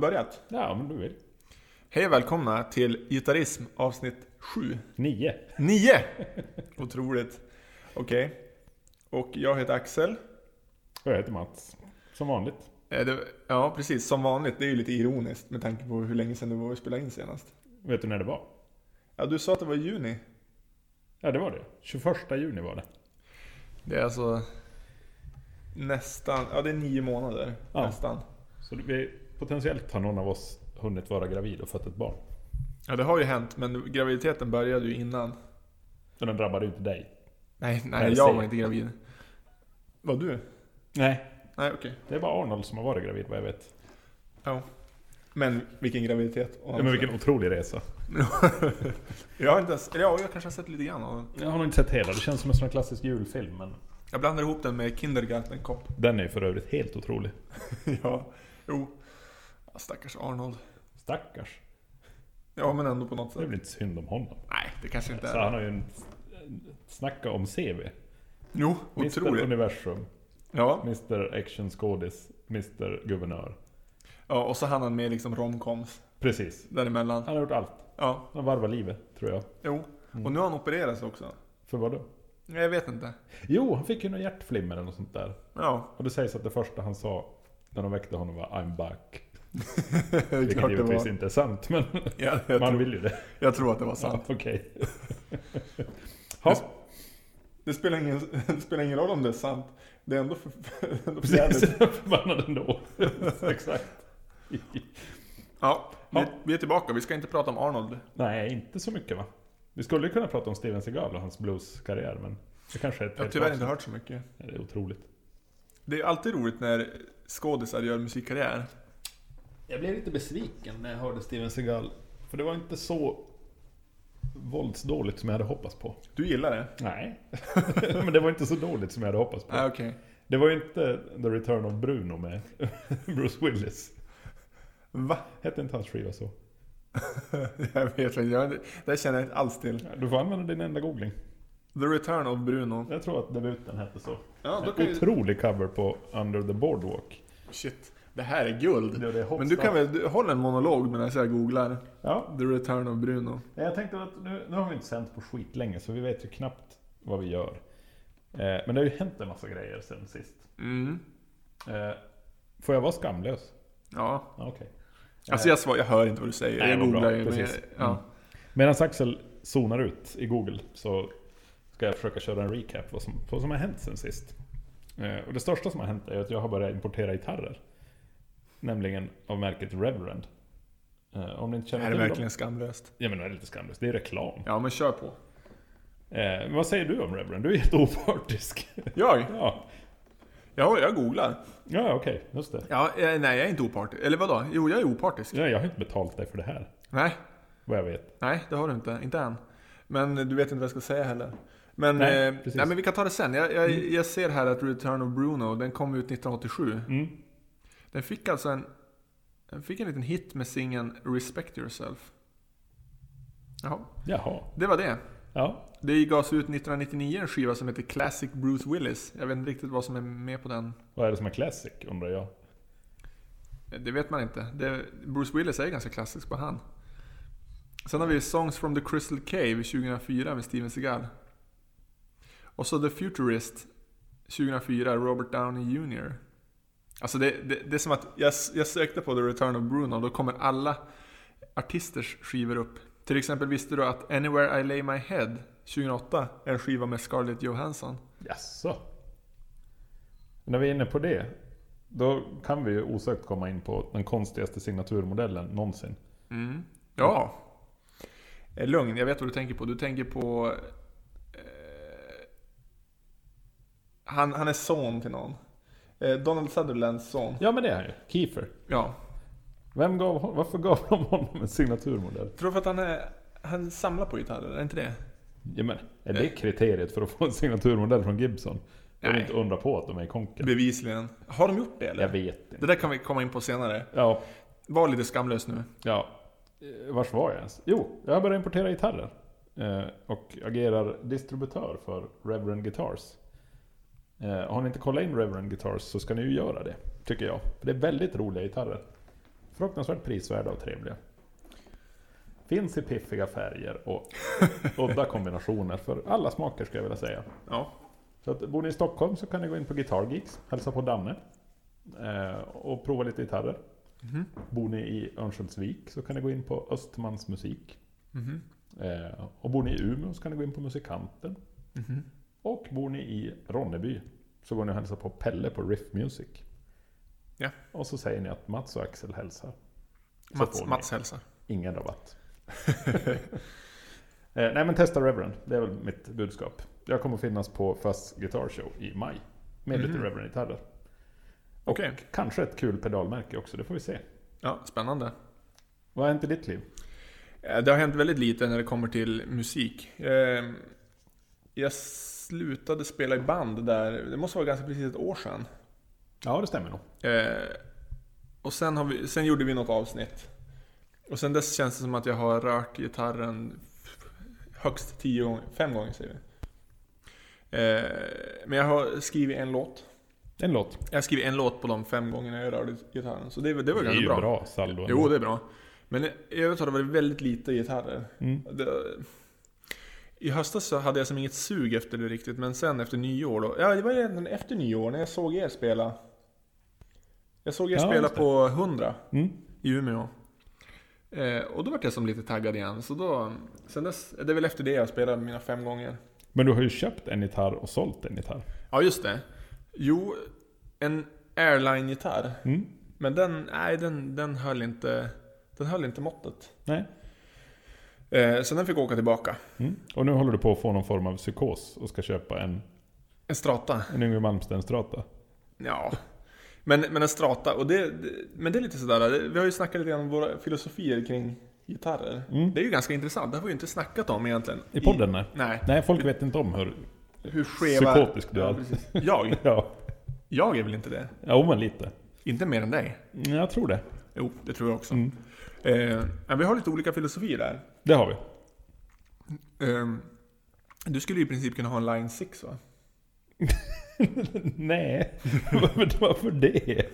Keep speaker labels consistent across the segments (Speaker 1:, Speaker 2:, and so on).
Speaker 1: börjat?
Speaker 2: Ja, om du vill.
Speaker 1: Hej och välkomna till Gitarrism avsnitt 7.
Speaker 2: Nio.
Speaker 1: 9! Otroligt. Okej. Och jag heter Axel.
Speaker 2: Och jag heter Mats. Som vanligt.
Speaker 1: Eh, det- Ja, precis. Som vanligt. Det är ju lite ironiskt med tanke på hur länge sedan det var vi spelade in senast.
Speaker 2: Vet du när det var?
Speaker 1: Ja, du sa att det var i juni.
Speaker 2: Ja, det var det. 21 juni var det.
Speaker 1: Det är alltså nästan, ja det är nio månader.
Speaker 2: Ja.
Speaker 1: Nästan.
Speaker 2: Så vi, potentiellt har någon av oss hunnit vara gravid och fött ett barn.
Speaker 1: Ja, det har ju hänt, men graviditeten började ju innan.
Speaker 2: Men den drabbade ju inte dig.
Speaker 1: Nej,
Speaker 2: det
Speaker 1: nej,
Speaker 2: säger
Speaker 1: jag var
Speaker 2: jag.
Speaker 1: inte gravid. Var du?
Speaker 2: Nej.
Speaker 1: Nej, okej.
Speaker 2: Det är bara Arnold som har varit gravid vad jag vet.
Speaker 1: Ja. Men vilken graviditet.
Speaker 2: Ja, men vilken otrolig resa.
Speaker 1: jag har inte ens, eller ja, jag kanske har sett lite grann av
Speaker 2: Jag har nog inte sett hela. Det känns som en sån här klassisk julfilm. Men
Speaker 1: Jag blandar ihop den med Kindergarten Cop.
Speaker 2: den är ju för övrigt helt otrolig.
Speaker 1: ja, jo. Ja, Stackars Arnold.
Speaker 2: Stackars.
Speaker 1: Ja, men ändå på något
Speaker 2: Det är
Speaker 1: sätt.
Speaker 2: väl inte synd om honom.
Speaker 1: Nej, det kanske inte
Speaker 2: Så
Speaker 1: är.
Speaker 2: han har ju en... Snacka om CV.
Speaker 1: Jo,
Speaker 2: Mr
Speaker 1: otroligt.
Speaker 2: Universum.
Speaker 1: Ja.
Speaker 2: Mr Action Skådis. Mr Guvernör.
Speaker 1: ja, och så hann han med liksom romcoms
Speaker 2: Precis.
Speaker 1: däremellan.
Speaker 2: Han har gjort allt.
Speaker 1: Ja,
Speaker 2: Han varvar livet, tror jag.
Speaker 1: jo. Och nu har han opererats också.
Speaker 2: För vad då?
Speaker 1: Nej, Jag vet inte.
Speaker 2: Jo, han fick ju något hjärtflimmer eller något sånt där.
Speaker 1: Ja,
Speaker 2: Och det sägs att det första han sa när de väckte honom var I'm back.
Speaker 1: det är
Speaker 2: Vilket
Speaker 1: klart det
Speaker 2: givetvis
Speaker 1: var.
Speaker 2: inte är sant, men
Speaker 1: Ja, jag,
Speaker 2: man
Speaker 1: tror,
Speaker 2: vill ju det.
Speaker 1: jag tror att det var sant.
Speaker 2: Ja, Okej. Ja,
Speaker 1: Det spelar, ingen, det spelar ingen roll om det är sant. Det är ändå för, ändå för jävligt.
Speaker 2: precis. Förbannad ändå. Exakt.
Speaker 1: Ja,
Speaker 2: Ja.
Speaker 1: Vi, vi är tillbaka. Vi ska inte prata om Arnold.
Speaker 2: Nej, inte så mycket va? Vi skulle ju kunna prata om Steven Seagal och hans blueskarriär, men det kanske är ett
Speaker 1: Jag har
Speaker 2: helt
Speaker 1: tyvärr
Speaker 2: avsnitt.
Speaker 1: inte hört så mycket.
Speaker 2: Nej, Det är otroligt.
Speaker 1: Det är alltid roligt när skådisar gör musikkarriär.
Speaker 2: Jag blev lite besviken när jag hörde Steven Seagal. För det var inte så våldsdåligt som jag hade hoppats på.
Speaker 1: Du gillar det?
Speaker 2: Nej. Men det var inte så dåligt som jag hade hoppats på.
Speaker 1: Nej, okej.
Speaker 2: Det var ju inte The Return of Bruno med Bruce Willis.
Speaker 1: Va?
Speaker 2: Hette inte hans skiva så?
Speaker 1: Jag vet inte. Jag, det här känner jag inte alls till.
Speaker 2: Du får använda din enda googling.
Speaker 1: The Return of Bruno.
Speaker 2: Jag tror att debuten hette så.
Speaker 1: Ja, då kan
Speaker 2: En
Speaker 1: ju...
Speaker 2: otrolig cover på Under the Boardwalk.
Speaker 1: Shit. Det här är guld.
Speaker 2: Det är det
Speaker 1: Men du kan väl du, hålla en monolog medan jag googlar.
Speaker 2: Ja,
Speaker 1: The Return of Bruno.
Speaker 2: Nej, Jag tänkte att nu, nu har vi inte sänt på skit länge så vi vet ju knappt vad vi gör. Eh, men det har ju hänt en massa grejer sen sist.
Speaker 1: Mm.
Speaker 2: Eh, får jag vara skamlös?
Speaker 1: Ja.
Speaker 2: Ja, Okej.
Speaker 1: Alltså jag, svar, jag hör inte vad Mm. du säger.
Speaker 2: Nej,
Speaker 1: jag
Speaker 2: vad bra.
Speaker 1: googlar ju. men
Speaker 2: Precis.
Speaker 1: jag- Ja.
Speaker 2: Medan Axel zonar ut i Google så ska jag försöka köra en recap vad som, vad som har hänt sen sist. Eh, och det största som har hänt är att jag har börjat importera gitarrer. Nämligen av märket Reverend. Eh, om ni inte
Speaker 1: Det
Speaker 2: känner
Speaker 1: här är
Speaker 2: till
Speaker 1: verkligen skamlöst.
Speaker 2: dem? Ja men det är lite skamlöst, det är reklam.
Speaker 1: Ja, men kör på.
Speaker 2: Eh, men vad säger du om Reverend? Du är jätteopartisk.
Speaker 1: Jag?
Speaker 2: ja.
Speaker 1: Ja, jag googlar.
Speaker 2: Ja, okej. Just det.
Speaker 1: Ja, eh, nej, jag är inte opartisk. Eller vadå? Jo, jag är opartisk.
Speaker 2: Ja, jag har inte betalt dig för det här.
Speaker 1: Nej,
Speaker 2: Vad jag vet.
Speaker 1: nej, det har du inte. Inte än. Men eh, du vet inte vad jag ska säga heller. Men,
Speaker 2: Nej,
Speaker 1: nej, eh,
Speaker 2: precis.
Speaker 1: nej, men vi kan ta det sen. Jag, jag, jag ser här att Return of Bruno, den kom ut 1987.
Speaker 2: Mm.
Speaker 1: Den fick alltså en... Den fick en liten hit med singeln 'Respect Yourself'. Jaha,
Speaker 2: Jaha.
Speaker 1: det var det.
Speaker 2: Ja.
Speaker 1: Det gavs ut 1999 en skiva som heter Classic Bruce Willis. Jag vet inte riktigt vad som är med på den.
Speaker 2: Vad är det som är classic, undrar jag.
Speaker 1: Det vet man inte. Det, Bruce Willis är ganska klassisk på han. Sen har vi Songs from the Crystal Cave 2004 med Steven Seagal. Och så The Futurist 2004, Robert Downey Jr. Alltså det, det, det är som att jag, jag sökte på The Return of Bruno och då kommer alla artisters skivor upp. Till exempel visste du att Anywhere I Lay My Head 2008 är en skiva med Scarlett Johansson.
Speaker 2: Jaså? När vi är inne på det. Då kan vi ju osökt komma in på den konstigaste signaturmodellen någonsin.
Speaker 1: Mm. Ja. Eh, Lugn, jag vet vad du tänker på. Du tänker på... Eh, han, han är son till någon. Eh, Donald Sutherlands son.
Speaker 2: Ja, men det är han ju. Kiefer.
Speaker 1: Ja.
Speaker 2: Vem gav hon, varför gav de honom en signaturmodell?
Speaker 1: Tror du att han, är, han samlar på gitarrer? Är det inte det?
Speaker 2: Ja, men, är det kriteriet för att få en signaturmodell från Gibson? Då är det
Speaker 1: Nej.
Speaker 2: inte undra på att de är i konken.
Speaker 1: Bevisligen. Har de gjort det eller?
Speaker 2: Jag vet inte.
Speaker 1: Det där kan vi komma in på senare.
Speaker 2: Ja,
Speaker 1: Var lite skamlös nu.
Speaker 2: Ja. Eh, Vars var jag ens? Jo, jag började importera gitarrer. eh, Och agerar distributör för Reverend Guitars. Eh, Har ni inte kollat in Reverend Guitars så ska ni ju göra det, tycker jag. För det är väldigt roliga gitarrer. Fruktansvärt prisvärda och trevliga. Finns i piffiga färger och udda kombinationer för alla smaker skulle jag vilja säga.
Speaker 1: Ja.
Speaker 2: Så att, bor ni i Stockholm så kan ni gå in på Guitar Geeks, hälsa på Danne eh, och prova lite gitarrer.
Speaker 1: Mhm.
Speaker 2: Bor ni i Örnsköldsvik så kan ni gå in på Östmans musik.
Speaker 1: Mhm.
Speaker 2: Eh, och bor ni i Umeå så kan ni gå in på Musikanten.
Speaker 1: Mhm.
Speaker 2: Och bor ni i Ronneby så går ni och hälsar på Pelle på Riff Music.
Speaker 1: Ja.
Speaker 2: Och så säger ni att Mats och Axel hälsar. Så får
Speaker 1: Mats,
Speaker 2: ni
Speaker 1: Mats hälsar.
Speaker 2: Ingen rabatt. eh, nej men testa Reverend, det är väl mitt budskap. Jag kommer finnas på Fuzz Guitar Show i maj. Med lite
Speaker 1: Mhm.
Speaker 2: Reverend-gitarrer. Och
Speaker 1: Okej.
Speaker 2: kanske ett kul pedalmärke också, det får vi se.
Speaker 1: Ja, spännande.
Speaker 2: Vad har hänt i ditt liv?
Speaker 1: Eh, Det har hänt väldigt lite när det kommer till musik. Eh, Jag slutade spela i band där, det måste vara ganska precis ett år sedan.
Speaker 2: Ja, det stämmer nog.
Speaker 1: Eh, Och sen, har vi, sen gjorde vi något avsnitt. Och sen dess känns det som att jag har rört gitarren f- högst tio gånger, fem gånger säger vi. Eh, Men jag har skrivit en låt.
Speaker 2: En låt.
Speaker 1: Jag har skrivit en låt på de fem gångerna jag rörde gitarren. Så det, var- det var
Speaker 2: det är
Speaker 1: ganska
Speaker 2: ju
Speaker 1: bra.
Speaker 2: bra, saldo. ändå.
Speaker 1: Jo, det är bra. Men i övrigt har det varit väldigt lite gitarrer.
Speaker 2: Mm.
Speaker 1: Det, I höstas så hade jag som inget sug efter det riktigt, men sen efter nyår då. Ja, det var egentligen efter nyår när jag såg er spela. Jag såg er
Speaker 2: Ja,
Speaker 1: spela
Speaker 2: just det.
Speaker 1: på 100
Speaker 2: Mm.
Speaker 1: i Umeå. Eh, och då var jag som lite taggad igen. Så då, sen dess, det är väl efter det jag spelade mina fem gånger.
Speaker 2: Men du har ju köpt en gitarr och sålt en gitarr.
Speaker 1: Ja, just det. Jo, en airline-gitarr.
Speaker 2: Mm.
Speaker 1: Men den, nej, den, den höll inte, den höll inte måttet.
Speaker 2: Nej.
Speaker 1: Eh, så den fick åka tillbaka.
Speaker 2: Mm. Och nu håller du på att få någon form av psykos och ska köpa en,
Speaker 1: En strata.
Speaker 2: en Yngwie Malmsteen-strata.
Speaker 1: Ja. Men, men en strata. Och det, det, men det är lite sådär. det- Vi har ju snackat lite grann om våra filosofier kring gitarrer.
Speaker 2: Mm.
Speaker 1: Det är ju ganska intressant. Det har vi ju inte snackat om egentligen.
Speaker 2: I podden? Nej.
Speaker 1: nej.
Speaker 2: Nej, folk vet inte om hur...
Speaker 1: Hur skeva...
Speaker 2: Psykotisk du är.
Speaker 1: ja, precis. Jag?
Speaker 2: Ja,
Speaker 1: Jag är väl inte det?
Speaker 2: jo men lite.
Speaker 1: Inte mer än dig?
Speaker 2: Mm, Jag tror det.
Speaker 1: Jo, det tror jag också.
Speaker 2: Mm.
Speaker 1: Eh, men vi har lite olika filosofier där.
Speaker 2: Det har vi.
Speaker 1: Eh, du skulle ju i princip kunna ha en Line 6 va?
Speaker 2: Nej, varför, varför det?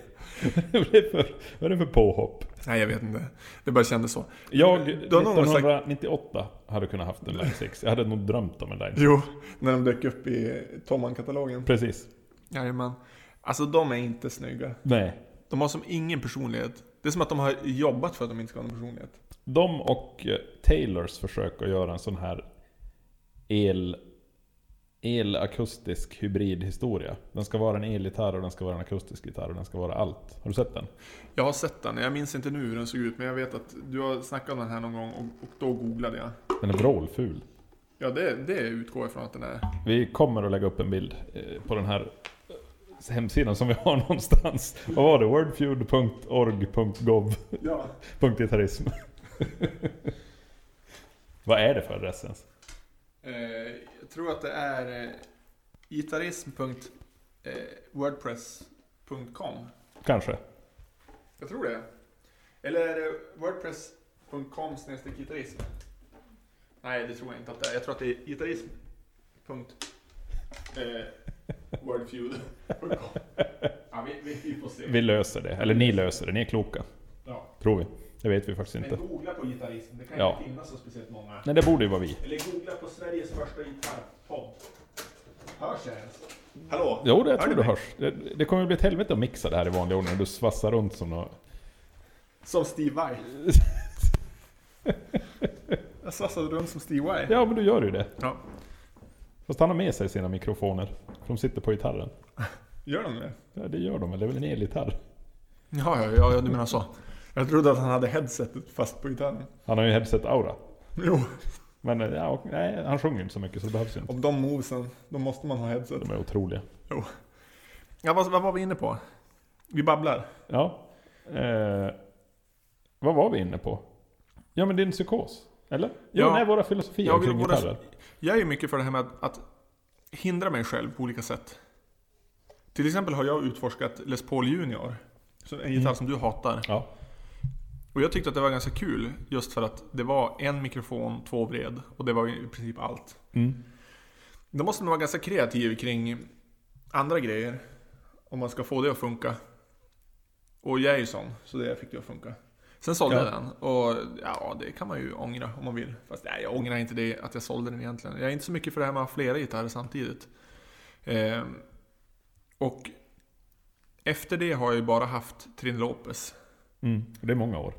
Speaker 2: Vad är det för, vad är det för påhopp?
Speaker 1: Nej, jag vet inte. Det bara kändes så.
Speaker 2: Jag,
Speaker 1: Du har någon gång sagt-
Speaker 2: 1998, hade kunnat haft en Line 6. Jag hade nog drömt om en Line 6.
Speaker 1: Jo, när de dök upp i Tomman-katalogen.
Speaker 2: Precis.
Speaker 1: Jajamän. Alltså de är inte snygga.
Speaker 2: Nej.
Speaker 1: De har som ingen personlighet. Det är som att de har jobbat för att de inte ska ha någon personlighet.
Speaker 2: De och eh, Taylors försök att göra en sån här el, elakustisk hybridhistoria. Den ska vara en elgitarr och den ska vara en akustisk gitarr och den ska vara allt. Har du sett den?
Speaker 1: Jag har sett den, jag minns inte nu hur den såg ut, men jag vet att du har snackat om den här någon gång och, och då googlade jag.
Speaker 2: Den är vrålful.
Speaker 1: Ja, det, det utgår jag från att den är.
Speaker 2: Vi kommer att lägga upp en bild eh, på den här eh, hemsidan som vi har någonstans. Vad var det? Wordfeud.org.gov.
Speaker 1: Ja.
Speaker 2: Gitarrism. Vad är det för adressens?
Speaker 1: Eh, jag tror att det är eh, gitarrism.wordpress.com.
Speaker 2: Kanske.
Speaker 1: Jag tror det. Eller är det wordpress.com snedstreck gitarrism? Nej, det tror jag inte att det är. Jag tror att det är gitarrism. Punkt. Eh, wordfeud.com. Ja, vi, vi, vi får se.
Speaker 2: Vi löser det. Eller ni löser det. Ni är kloka.
Speaker 1: Ja.
Speaker 2: Tror vi. Det vet vi faktiskt inte.
Speaker 1: Men googla på gitarrism. Det kan
Speaker 2: Ja.
Speaker 1: inte finnas så speciellt många.
Speaker 2: Nej, det borde ju vara vi.
Speaker 1: Eller googla på Sveriges första gitarrpodd. Hörs jag ens? Hallå?
Speaker 2: Jo, det jag
Speaker 1: Hör
Speaker 2: tror
Speaker 1: du
Speaker 2: du
Speaker 1: mig?
Speaker 2: hörs. Det, det kommer ju bli ett helvete att mixa det här i vanlig ordning. Du svassar runt som någon...
Speaker 1: Som Steve Vai. jag sassade runt som Steve Vai.
Speaker 2: Ja, men du gör ju det.
Speaker 1: Ja.
Speaker 2: Fast han har med sig sina mikrofoner. För de sitter på gitarren.
Speaker 1: Gör de det?
Speaker 2: Ja, det gör de väl? Det är väl en elgitarr?
Speaker 1: Ja, ja, ja, ja, du menar så. Jag trodde att han hade headsetet fast på gitarren.
Speaker 2: Han har ju headset-aura.
Speaker 1: Jo.
Speaker 2: Men eh, ja, och, nej, han sjunger inte så mycket så det behövs ju inte.
Speaker 1: Om de movesen, då måste man ha headset.
Speaker 2: De är otroliga.
Speaker 1: Ja, vad, vad var vi inne på? Vi babblar.
Speaker 2: Ja. Eh, vad var vi inne på? Ja, men din psykos. Eller? Jo,
Speaker 1: Ja.
Speaker 2: nej, våra filosofier
Speaker 1: Ja, vi-
Speaker 2: kring
Speaker 1: våra-
Speaker 2: gitarrer.
Speaker 1: Jag är ju mycket för det här med att, att hindra mig själv på olika sätt. Till exempel har jag utforskat Les Paul Junior. som- En gitarr
Speaker 2: Mm.
Speaker 1: som du hatar.
Speaker 2: Ja.
Speaker 1: Och jag tyckte att det var ganska kul just för att det var en mikrofon, två vred och det var i princip allt.
Speaker 2: Mm.
Speaker 1: Då måste man vara ganska kreativ kring andra grejer. Om man ska få det att funka. Och jag är ju sån, så det fick det att funka. Sen sålde
Speaker 2: Ja.
Speaker 1: jag den och ja, det kan man ju ångra om man vill. Fast nej, jag ångrar inte det att jag sålde den egentligen. Jag är inte så mycket för det här med att ha flera gitarrer samtidigt. Ehm, och efter det har jag ju bara haft Trin Lopez.
Speaker 2: Mm. Och det är många år.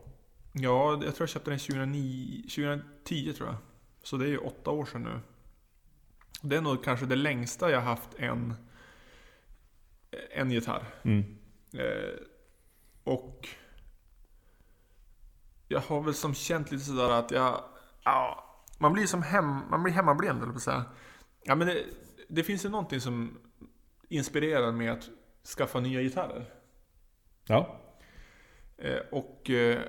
Speaker 1: Ja, jag tror jag köpte den 2009, 2010 tror jag. Så det är ju åtta år sedan nu. Det är nog kanske det längsta jag haft en, en gitarr.
Speaker 2: Mm.
Speaker 1: Eh, och jag har väl som känt lite sådär att jag... Ja, man blir som hem, man blir hemmablind, eller på att säga. Ja, men det, det finns ju någonting som inspirerar mig att skaffa nya gitarrer.
Speaker 2: Ja.
Speaker 1: Eh, och eh,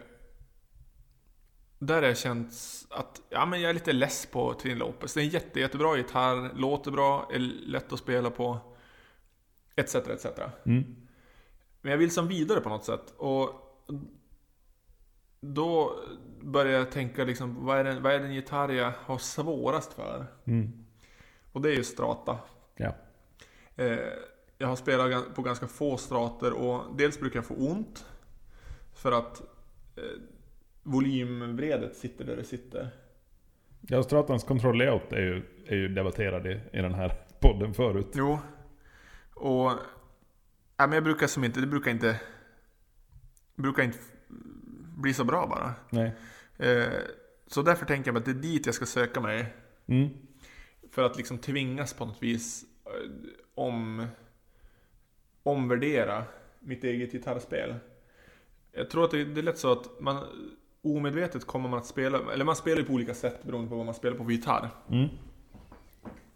Speaker 1: där har jag känt att ja, men jag är lite less på Trin Lopez. Det är en jätte, jättebra gitarr, låter bra, är lätt att spela på. Etc, etc.
Speaker 2: Mm.
Speaker 1: Men jag vill som vidare på något sätt. Och då börjar jag tänka liksom, vad är den, vad är den gitarr jag har svårast för?
Speaker 2: Mm.
Speaker 1: Och det är ju strata.
Speaker 2: Ja.
Speaker 1: Eh, jag har spelat gan- på ganska få strater och dels brukar jag få ont. För att eh, volymvredet sitter där det sitter.
Speaker 2: ja Stratans control layout är ju, är ju debatterad i, i den här podden förut.
Speaker 1: Jo. Och... Nej, men jag brukar som inte, det brukar inte... Brukar inte bli så bra bara.
Speaker 2: Nej.
Speaker 1: Eh, så därför tänker jag mig att det är dit jag ska söka mig.
Speaker 2: Mm.
Speaker 1: För att liksom tvingas på något vis eh, om, omvärdera mitt eget gitarrspel. Jag tror att det, det är lätt så att man omedvetet kommer man att spela, eller man spelar ju på olika sätt beroende på vad man spelar på för gitarr.
Speaker 2: Mm.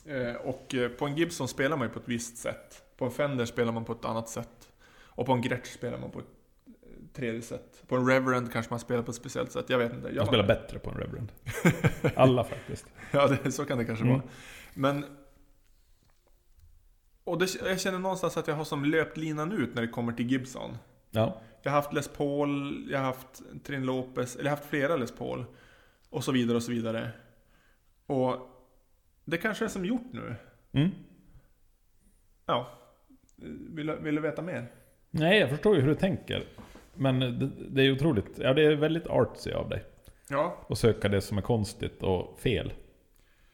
Speaker 1: Eh, och eh, på en Gibson spelar man ju på ett visst sätt. På en Fender spelar man på ett annat sätt. Och på en Gretsch spelar man på ett eh, tredje sätt. På en Reverend kanske man spelar på ett speciellt sätt, jag vet inte.
Speaker 2: Jag spelar bättre på en Reverend. Alla faktiskt.
Speaker 1: Ja, det, så kan det kanske
Speaker 2: Mm.
Speaker 1: vara. Men... Och det, jag känner någonstans att jag har som löpt linan ut när det kommer till Gibson.
Speaker 2: Ja.
Speaker 1: Jag har haft Les Paul, jag har haft Trin Lopez, eller jag har haft flera Les Paul. Och så vidare och så vidare. Och det kanske är som gjort nu.
Speaker 2: Mm.
Speaker 1: Ja. Vill, du- vill du veta mer?
Speaker 2: Nej, jag förstår ju hur du tänker. Men det, det är ju otroligt. Ja, det är väldigt artsy av dig.
Speaker 1: Ja.
Speaker 2: Att söka det som är konstigt och fel.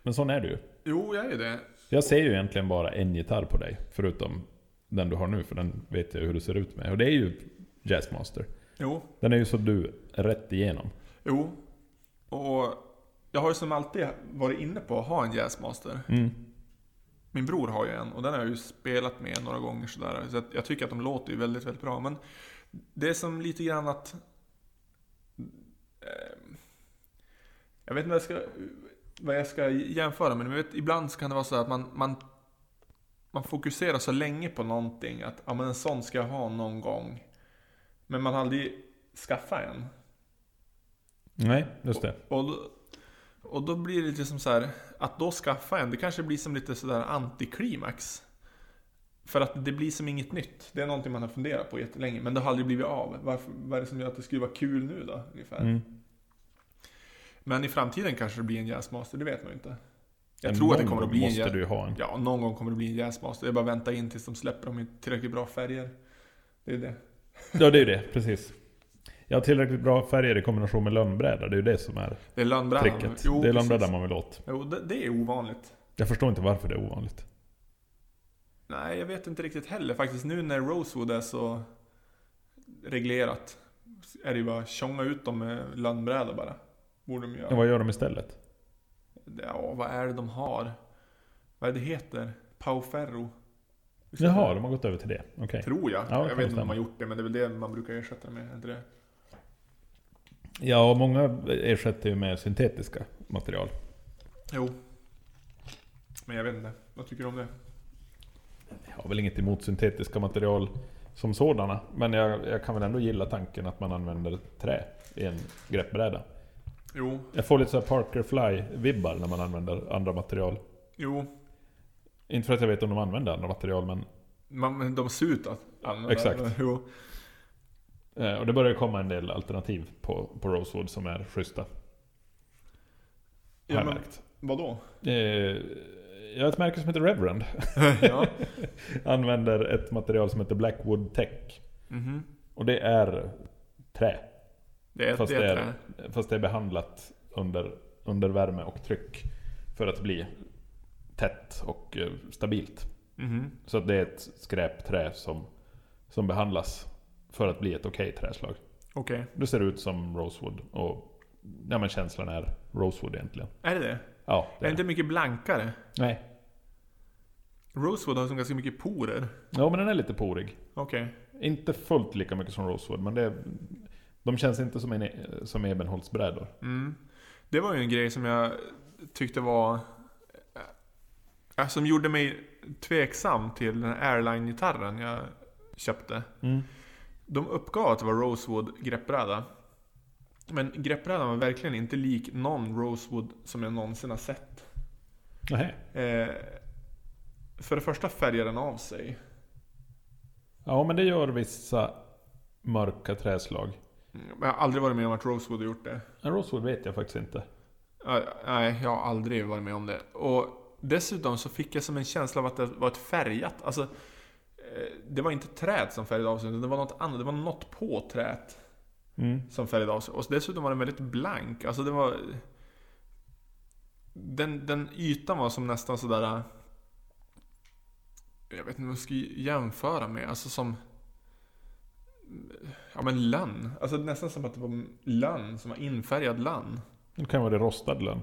Speaker 2: Men sån är du ju.
Speaker 1: Jo, jag är det.
Speaker 2: Jag ser ju egentligen bara en gitarr på dig. Förutom den du har nu, för den vet jag hur du ser ut med. Och det är ju Jazzmaster.
Speaker 1: Jo.
Speaker 2: Den är ju så du, rätt igenom.
Speaker 1: Jo. Och jag har ju som alltid varit inne på att ha en Jazzmaster.
Speaker 2: Mm.
Speaker 1: Min bror har ju en och den har jag ju spelat med några gånger sådär. Så att jag tycker att de låter ju väldigt, väldigt bra. Men det är som lite grann att... ehm, Jag vet inte vad jag ska, vad jag ska jämföra med. Men jag vet, ibland så kan det vara så att man, man, man fokuserar så länge på någonting. Att ja, men en sån ska jag ha någon gång. Men man har aldrig skaffat en.
Speaker 2: Nej, just det.
Speaker 1: Och då, och då blir det lite som så här att då skaffa en, det kanske blir som lite sådär antiklimax. För att det blir som inget nytt. Det är någonting man har funderat på jättelänge, men det har aldrig blivit av. Varför, vad är det som gör att det skulle vara kul nu då, ungefär?
Speaker 2: Mm.
Speaker 1: Men i framtiden kanske det blir en jazzmaster, det vet man ju inte. Jag
Speaker 2: Men
Speaker 1: tror att det
Speaker 2: någon
Speaker 1: kommer att
Speaker 2: gång
Speaker 1: bli en
Speaker 2: måste
Speaker 1: jazz...
Speaker 2: du ju ha en.
Speaker 1: Ja, någon gång kommer det bli en jazzmaster. Det är bara att vänta in tills de släpper dem i tillräckligt bra färger. Det är det.
Speaker 2: Ja, det är ju det. Precis. Jag har tillräckligt bra färger i kombination med lönnbräda. Det är ju det som är
Speaker 1: Det är lönnbrädan.
Speaker 2: tricket.
Speaker 1: Jo,
Speaker 2: det är
Speaker 1: precis.
Speaker 2: lönnbrädan man vill åt.
Speaker 1: Jo, det, det är ovanligt.
Speaker 2: Jag förstår inte varför det är ovanligt.
Speaker 1: Nej, jag vet inte riktigt heller faktiskt. Nu när Rosewood är så reglerat är det ju bara att tjonga ut dem med landbräda bara. Borde de
Speaker 2: Ja.
Speaker 1: göra.
Speaker 2: Vad gör de istället?
Speaker 1: Ja, vad är det de har? Vad är det heter? Pauferro?
Speaker 2: Jaha, de har gått över till det. Okej.
Speaker 1: Tror jag.
Speaker 2: Ja, det
Speaker 1: jag
Speaker 2: kan
Speaker 1: vet inte om de
Speaker 2: stämma.
Speaker 1: har gjort det, men det är väl det man brukar ersätta det med. är Inte det?
Speaker 2: Ja, och många ersätter ju med syntetiska material.
Speaker 1: Jo. Men jag vet inte. Vad tycker du om det?
Speaker 2: Jag har väl inget emot syntetiska material som sådana. Men jag, jag kan väl ändå gilla tanken att man använder trä i en greppbräda.
Speaker 1: Jo,
Speaker 2: Jag får lite så här Parker Fly-vibbar när man använder andra material.
Speaker 1: jo.
Speaker 2: Inte för att jag vet om de använder andra material, men...
Speaker 1: Man, men de ser ut att använda
Speaker 2: Exakt.
Speaker 1: Jo.
Speaker 2: Eh, och det börjar komma en del alternativ på, på Rosewood som är schyssta.
Speaker 1: Ja,
Speaker 2: har jag
Speaker 1: men,
Speaker 2: märkt.
Speaker 1: vadå?
Speaker 2: Eh, jag har ett märke som heter Reverend.
Speaker 1: ja.
Speaker 2: Använder ett material som heter Blackwood Tech.
Speaker 1: Mhm.
Speaker 2: Och det är trä.
Speaker 1: Det är,
Speaker 2: Fast
Speaker 1: det är,
Speaker 2: det är-
Speaker 1: trä.
Speaker 2: Fast det är behandlat under, under värme och tryck. För att bli tätt och eh, stabilt.
Speaker 1: Mhm.
Speaker 2: Så att det är ett skräpträ som, som behandlas för att bli ett okej träslag.
Speaker 1: Okej.
Speaker 2: Det ser ut som rosewood och ja, men känslan är rosewood egentligen.
Speaker 1: Är det det?
Speaker 2: Ja, det
Speaker 1: Är
Speaker 2: är
Speaker 1: inte
Speaker 2: det.
Speaker 1: mycket blankare?
Speaker 2: Nej.
Speaker 1: Rosewood har som ganska mycket porer.
Speaker 2: Ja, men den är lite porig.
Speaker 1: Okej.
Speaker 2: Inte fullt lika mycket som rosewood, men det är, de känns inte som, en, som ebenholtsbrädor.
Speaker 1: Mm. Det var ju en grej som jag tyckte var... Äh, som gjorde mig tveksam till den här airline-gitarren jag köpte.
Speaker 2: Mm.
Speaker 1: De uppgav att det var Rosewood greppbräda. Men greppbrädan var verkligen inte lik någon Rosewood som jag någonsin har sett.
Speaker 2: Nej.
Speaker 1: Eh, för det första färgar den av sig.
Speaker 2: Ja, men det gör vissa mörka träslag.
Speaker 1: Mm, Jag har aldrig varit med om att Rosewood har gjort det.
Speaker 2: En rosewood vet jag faktiskt inte.
Speaker 1: Ja, Nej, jag har aldrig varit med om det. Och dessutom så fick jag som en känsla av att det var ett färgat. Alltså, eh, det var inte träet som färgade av sig, utan det var något annat. Det var något på träet
Speaker 2: Mm.
Speaker 1: som färgade av sig. Och dessutom var den väldigt blank. Alltså det var... Den, den ytan var som nästan sådär... eh, Jag vet inte vad jag ska jämföra med. Alltså som... Ja men lönn. Alltså nästan som att det var lönn som var infärgad lönn.
Speaker 2: Det kan vara det rostad lönn.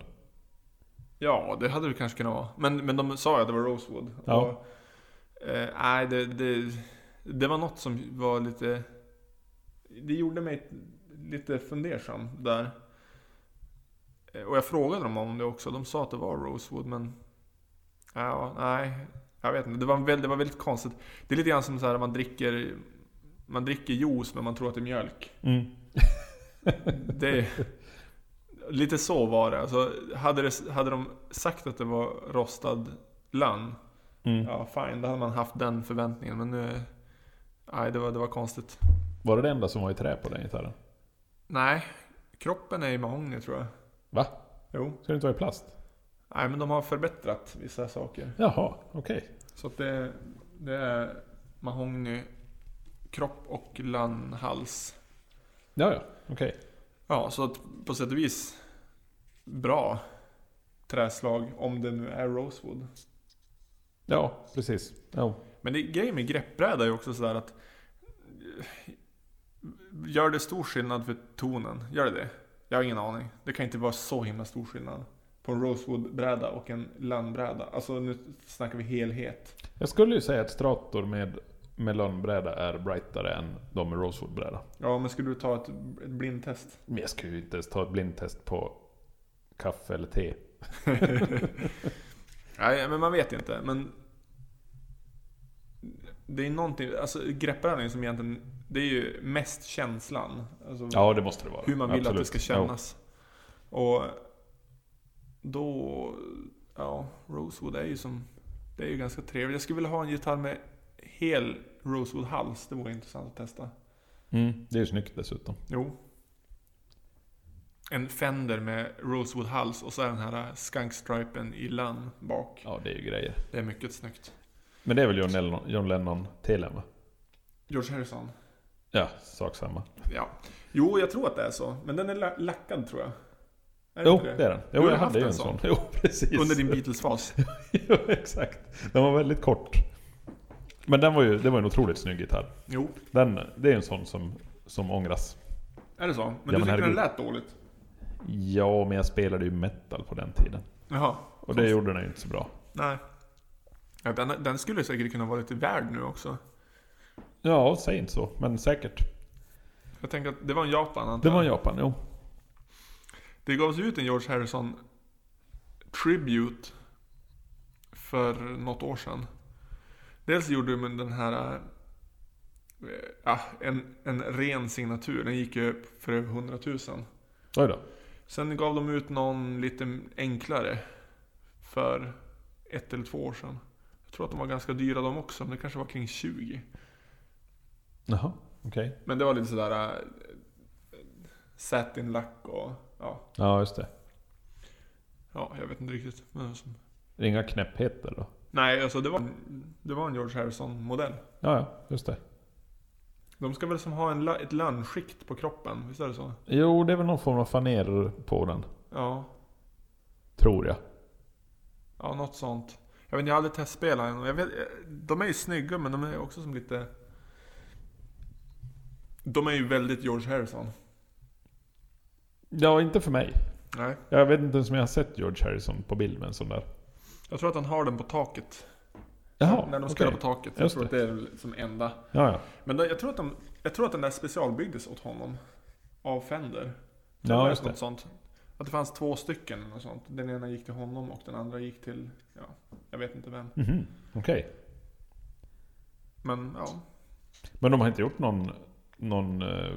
Speaker 1: Ja, det hade det kanske kunnat vara. Men, men de sa ju att det var Rosewood.
Speaker 2: Ja.
Speaker 1: Och, eh, nej, det, det, det var något som var lite... Det gjorde mig lite fundersam där. Eh, Och jag frågade dem om det också. De sa att det var Rosewood, men... Ja, nej. Jag vet inte. Det var, väl, det var väldigt konstigt. Det är lite grann som så här man dricker... Man dricker juice, men man tror att det är mjölk.
Speaker 2: Mm.
Speaker 1: Det, lite så var det. Alltså, hade, det. hade de sagt att det var rostad lönn,
Speaker 2: Mm.
Speaker 1: ja fine, då hade man haft den förväntningen. Men nu... Nej, det var, det var konstigt.
Speaker 2: Var det det enda som var i trä på den gitarren?
Speaker 1: Nej, kroppen är i mahogny tror jag.
Speaker 2: Va?
Speaker 1: Jo.
Speaker 2: Ska det inte vara i plast?
Speaker 1: Nej, men de har förbättrat vissa saker.
Speaker 2: Jaha, okej.
Speaker 1: Så att det, det är mahogny, kropp och lönnhals.
Speaker 2: Ja, ja, okej.
Speaker 1: Ja, så att på sätt och vis bra träslag om det nu är Rosewood.
Speaker 2: Ja, precis. Ja.
Speaker 1: Men det, grejen med greppbräda är ju också sådär att... eh, Gör det stor skillnad för tonen? Gör det det? Jag har ingen aning. Det kan inte vara så himla stor skillnad. På en Rosewood-bräda och en landbräda. Alltså nu snackar vi helhet.
Speaker 2: Jag skulle ju säga att Strator med, med lönnbräda är brightare än de med rosewoodbräda.
Speaker 1: Ja, men skulle du ta ett, ett blindtest?
Speaker 2: Men jag skulle ju inte ens ta ett blindtest på kaffe eller te.
Speaker 1: Mm. Nej, men man vet inte. Men... Det är någonting, alltså greppbrädan som egentligen... Det är ju mest känslan. Alltså,
Speaker 2: Ja, det måste det vara.
Speaker 1: hur man vill att det
Speaker 2: Absolut.
Speaker 1: ska kännas. Och då, ja, Rosewood är ju som, det är ju ganska trevligt. Jag skulle vilja ha en gitarr med hel Rosewood-hals. Det vore intressant att testa.
Speaker 2: Ja. Mm, det är ju snyggt dessutom.
Speaker 1: Jo. En Fender med Rosewood-hals och så är den här skunkstripen i lönn bak.
Speaker 2: Ja, det är ju grejer.
Speaker 1: Det är mycket snyggt.
Speaker 2: Men det är väl John Lennon, John Lennon telen va?
Speaker 1: George Harrison.
Speaker 2: Ja, sak samma.
Speaker 1: Ja. Jo, jag tror att det är så. Men den är la- lackad tror jag. Är
Speaker 2: Jo,
Speaker 1: inte
Speaker 2: det är den.
Speaker 1: Du
Speaker 2: Jo,
Speaker 1: har
Speaker 2: jag
Speaker 1: haft
Speaker 2: hade ju
Speaker 1: en
Speaker 2: en sån. Jo, precis.
Speaker 1: Under din Beatles-fas.
Speaker 2: jo, exakt. Den var väldigt kort. Men den var ju, det var ju en otroligt snygg gitarr.
Speaker 1: Jo,
Speaker 2: Den, det är en sån som, som ångras.
Speaker 1: är det så? Men du
Speaker 2: men
Speaker 1: tyckte den
Speaker 2: herregud.
Speaker 1: lät dåligt?
Speaker 2: Ja, men jag spelade ju metal på den tiden.
Speaker 1: Jaha,
Speaker 2: Och det gjorde den ju inte så bra.
Speaker 1: nej. Ja, den, den skulle säkert kunna vara lite värd nu också.
Speaker 2: Ja, säg inte så, men säkert.
Speaker 1: Jag tänker att det var en Japan antar jag.
Speaker 2: Det var Japan, jo.
Speaker 1: Det gavs ut en George Harrison Tribute för något år sedan. Dels gjorde de den här... eh, Ja, en, en ren signatur. Den gick ju upp för över 100 000.
Speaker 2: Oj då.
Speaker 1: Sen gav de ut någon lite enklare för ett eller två år sedan. Jag tror att de var ganska dyra de också, men det kanske var kring 20.
Speaker 2: Jaha, okej.
Speaker 1: Men det var lite sådär... Äh, satin lack och... Ja,
Speaker 2: Ja, just det.
Speaker 1: ja, jag vet inte riktigt. Men som,
Speaker 2: Inga knäppheter då?
Speaker 1: nej, alltså det var, det var en George Harrison-modell.
Speaker 2: Ja, ja, just det.
Speaker 1: De ska väl som ha en, la- ett lönnskikt på kroppen, visst är det så?
Speaker 2: Jo, det är väl någon form av faner på den.
Speaker 1: Ja,
Speaker 2: Tror jag.
Speaker 1: ja något sånt. Jag vet inte, jag har aldrig testspelat än. och Jag vet, de är ju snygga men de är också som lite... De är ju väldigt George Harrison.
Speaker 2: Ja, inte för mig.
Speaker 1: Nej.
Speaker 2: Jag vet inte ens om jag har sett George Harrison på bild med en sån där.
Speaker 1: Jag tror att han har den på taket.
Speaker 2: Jaha,
Speaker 1: när de
Speaker 2: okej.
Speaker 1: spelar på taket. Jag
Speaker 2: Just
Speaker 1: tror att det är väl som enda.
Speaker 2: Ja, ja.
Speaker 1: Men då, jag, tror att de, jag tror att den där specialbyggdes åt honom. Av Fender. Det var
Speaker 2: ja just
Speaker 1: något
Speaker 2: det.
Speaker 1: sånt. Att det fanns två stycken eller något sånt. Den ena gick till honom och den andra gick till, ja, jag vet inte vem.
Speaker 2: Mhm, Okej.
Speaker 1: Men ja.
Speaker 2: Men de har inte gjort någon, någon eh,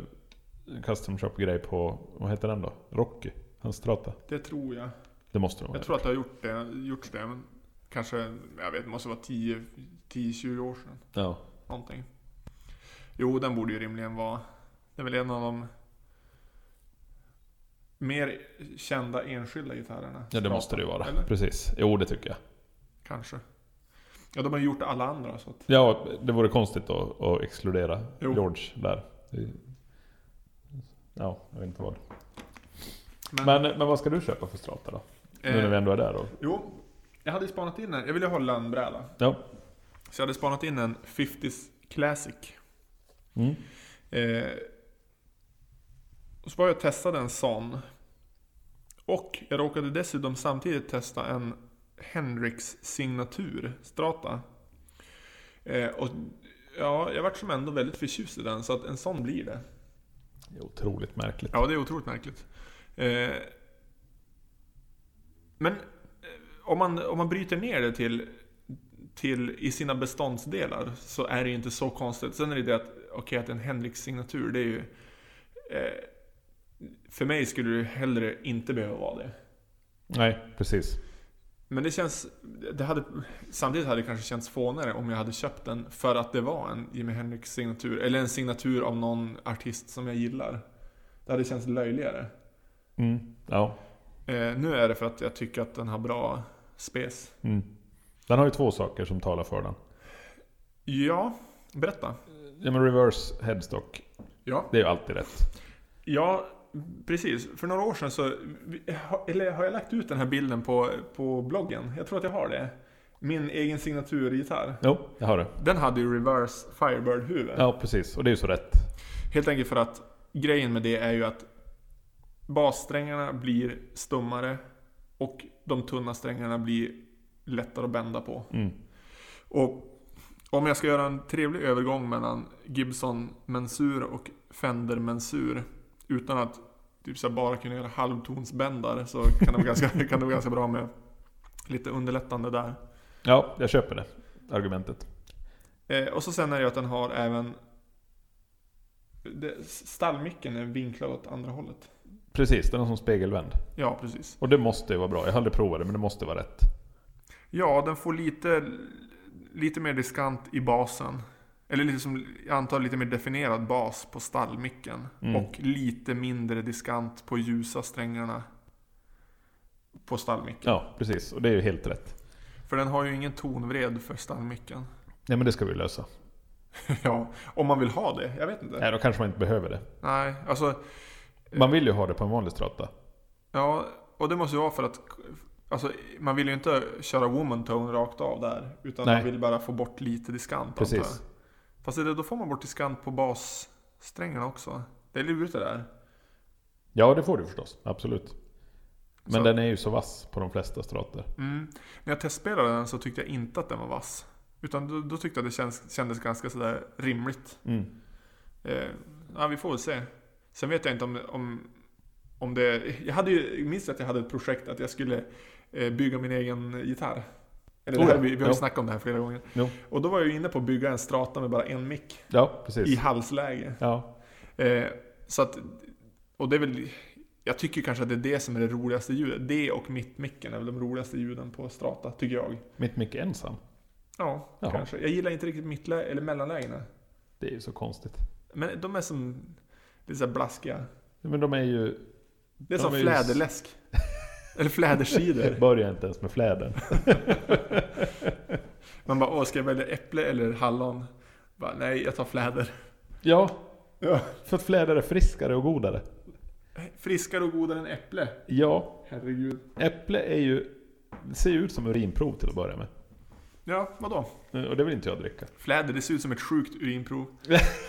Speaker 2: custom shop-grej på, vad heter den då? Rocky? Hans strata?
Speaker 1: Det tror jag.
Speaker 2: Det måste de ha
Speaker 1: Jag
Speaker 2: gjort.
Speaker 1: tror att det har gjort det, gjorts det. Men kanske, jag vet, det måste vara 10 10-20 år sedan.
Speaker 2: Ja.
Speaker 1: Någonting. Jo, den borde ju rimligen vara... Det är väl en av de mer kända enskilda gitarrerna.
Speaker 2: ja, det måste det ju vara.
Speaker 1: Eller?
Speaker 2: Precis. Jo, det tycker jag.
Speaker 1: Kanske. Ja, de har ju gjort alla andra så att...
Speaker 2: Ja, det vore konstigt att, att exkludera
Speaker 1: Jo.
Speaker 2: George där. Det- Ja, jag vet inte vad.
Speaker 1: Men,
Speaker 2: Men, men vad ska du köpa för strata då? Nu när vi
Speaker 1: eh,
Speaker 2: ändå är där och...
Speaker 1: jo. Jag hade ju spanat in en. Jag ville ha en lönnbräda.
Speaker 2: Ja.
Speaker 1: Så jag hade spanat in en 50s Classic.
Speaker 2: Mm.
Speaker 1: Eh, och så var jag och testade en sån. Och jag råkade dessutom samtidigt testa en Hendrix signatur Strata. Eh, och ja, jag vart som ändå väldigt förtjust i den, så att en sån blir det.
Speaker 2: Det är otroligt märkligt.
Speaker 1: Ja, det är otroligt märkligt. Eh, men eh, om man, om man bryter ner det till, till i sina beståndsdelar så är det ju inte så konstigt. Sen är det ju det att, okej att en Henriks signatur, det är ju... Eh, för mig skulle det ju hellre inte behöva vara det.
Speaker 2: Nej, precis.
Speaker 1: Men det känns... Det hade, samtidigt hade det kanske känts fånigare om jag hade köpt den för att det var en Jimi Hendrix signatur. Eller en signatur av någon artist som jag gillar. Det hade känts löjligare.
Speaker 2: Mm. Ja.
Speaker 1: Eh, nu är det för att jag tycker att den har bra spes.
Speaker 2: Mm. Den har ju två saker som talar för den.
Speaker 1: Ja, berätta.
Speaker 2: Ja, men reverse headstock.
Speaker 1: Ja.
Speaker 2: Det är ju alltid rätt.
Speaker 1: Ja, precis. För några år sedan så... Eller har jag lagt ut den här bilden på, på bloggen? Jag tror att jag har det. Min egen signaturgitarr.
Speaker 2: Jo, jag har det.
Speaker 1: Den hade ju reverse Firebird-huvud.
Speaker 2: Ja, precis. Och det är ju så rätt.
Speaker 1: Helt enkelt för att grejen med det är ju att bassträngarna blir stummare och de tunna strängarna blir lättare att bända på.
Speaker 2: Mm.
Speaker 1: Och om jag ska göra en trevlig övergång mellan Gibson-mensur och Fender-mensur utan att typ så här bara kunna göra halvtonsbändare så kan det vara ganska, kan det vara ganska bra med lite underlättande där.
Speaker 2: Ja, jag köper det argumentet.
Speaker 1: Eh, och så sen är det ju att den har även det, stallmicken är vinklad åt andra hållet.
Speaker 2: Precis, den är som spegelvänd.
Speaker 1: Ja, precis.
Speaker 2: Och det måste ju vara bra. Jag har aldrig provat det, men det måste vara rätt.
Speaker 1: Ja, den får lite, lite mer diskant i basen. Eller lite som, jag antar lite mer definierad bas på stallmicken.
Speaker 2: Mm.
Speaker 1: Och lite mindre diskant på ljusa strängarna på stallmicken.
Speaker 2: Ja, precis. Och det är ju helt rätt.
Speaker 1: För den har ju ingen tonvred för stallmicken.
Speaker 2: Nej, men det ska vi lösa.
Speaker 1: ja, om man vill ha det. Jag vet inte.
Speaker 2: Nej, då kanske man inte behöver det.
Speaker 1: Nej, alltså,
Speaker 2: Man vill ju ha det på en vanlig strata.
Speaker 1: ja, och det måste ju vara för att Alltså, man vill ju inte köra woman tone rakt av där. Utan
Speaker 2: Nej.
Speaker 1: man vill bara få bort lite diskant antar jag.
Speaker 2: Precis.
Speaker 1: Fast det, då får man bort diskant på bassträngarna också. Det är lurigt det där.
Speaker 2: Ja, det får du förstås. Absolut. Men
Speaker 1: Så-
Speaker 2: den är ju så vass på de flesta strator.
Speaker 1: Mm. När jag testspelade den så tyckte jag inte att den var vass. Utan då, då tyckte jag att det känns, kändes ganska sådär rimligt.
Speaker 2: Mm.
Speaker 1: Eh, ja, vi får väl se. Sen vet jag inte om, om, om det... Jag hade ju, jag minns att jag hade ett projekt att jag skulle eh, bygga min egen gitarr. Eller det
Speaker 2: Oh ja,
Speaker 1: här, vi, vi har
Speaker 2: ja.
Speaker 1: ju snackat om det här flera gånger.
Speaker 2: Jo.
Speaker 1: Och då var jag ju inne på att bygga en strata med bara en mick
Speaker 2: Ja,
Speaker 1: i
Speaker 2: precis.
Speaker 1: halsläge.
Speaker 2: Ja.
Speaker 1: Eh, så att, och det är väl, jag tycker kanske att det är det som är det roligaste ljudet. Det och mittmicken är väl de roligaste ljuden på strata, tycker jag.
Speaker 2: Mitt mick ensam.
Speaker 1: Ja,
Speaker 2: Jaha.
Speaker 1: kanske. Jag gillar inte riktigt mittlä- eller mellanlägena.
Speaker 2: Det är ju så konstigt.
Speaker 1: Men de är som lite så här blaskiga.
Speaker 2: Men de är ju...
Speaker 1: Det är
Speaker 2: De
Speaker 1: som
Speaker 2: är ju-
Speaker 1: fläderläsk. eller flädersider.
Speaker 2: Börja inte ens med fläden.
Speaker 1: Man bara, åh, ska jag välja äpple eller hallon? Bara, nej, jag tar fläder.
Speaker 2: Ja,
Speaker 1: Ja.
Speaker 2: för att fläder är friskare och godare.
Speaker 1: Friskare och godare än äpple.
Speaker 2: Ja,
Speaker 1: Herregud.
Speaker 2: äpple är ju... Det ser ju ut som urinprov till att börja med.
Speaker 1: Ja, vadå?
Speaker 2: Eh, Och det vill inte jag dricka.
Speaker 1: Fläder, det ser ut som ett sjukt urinprov.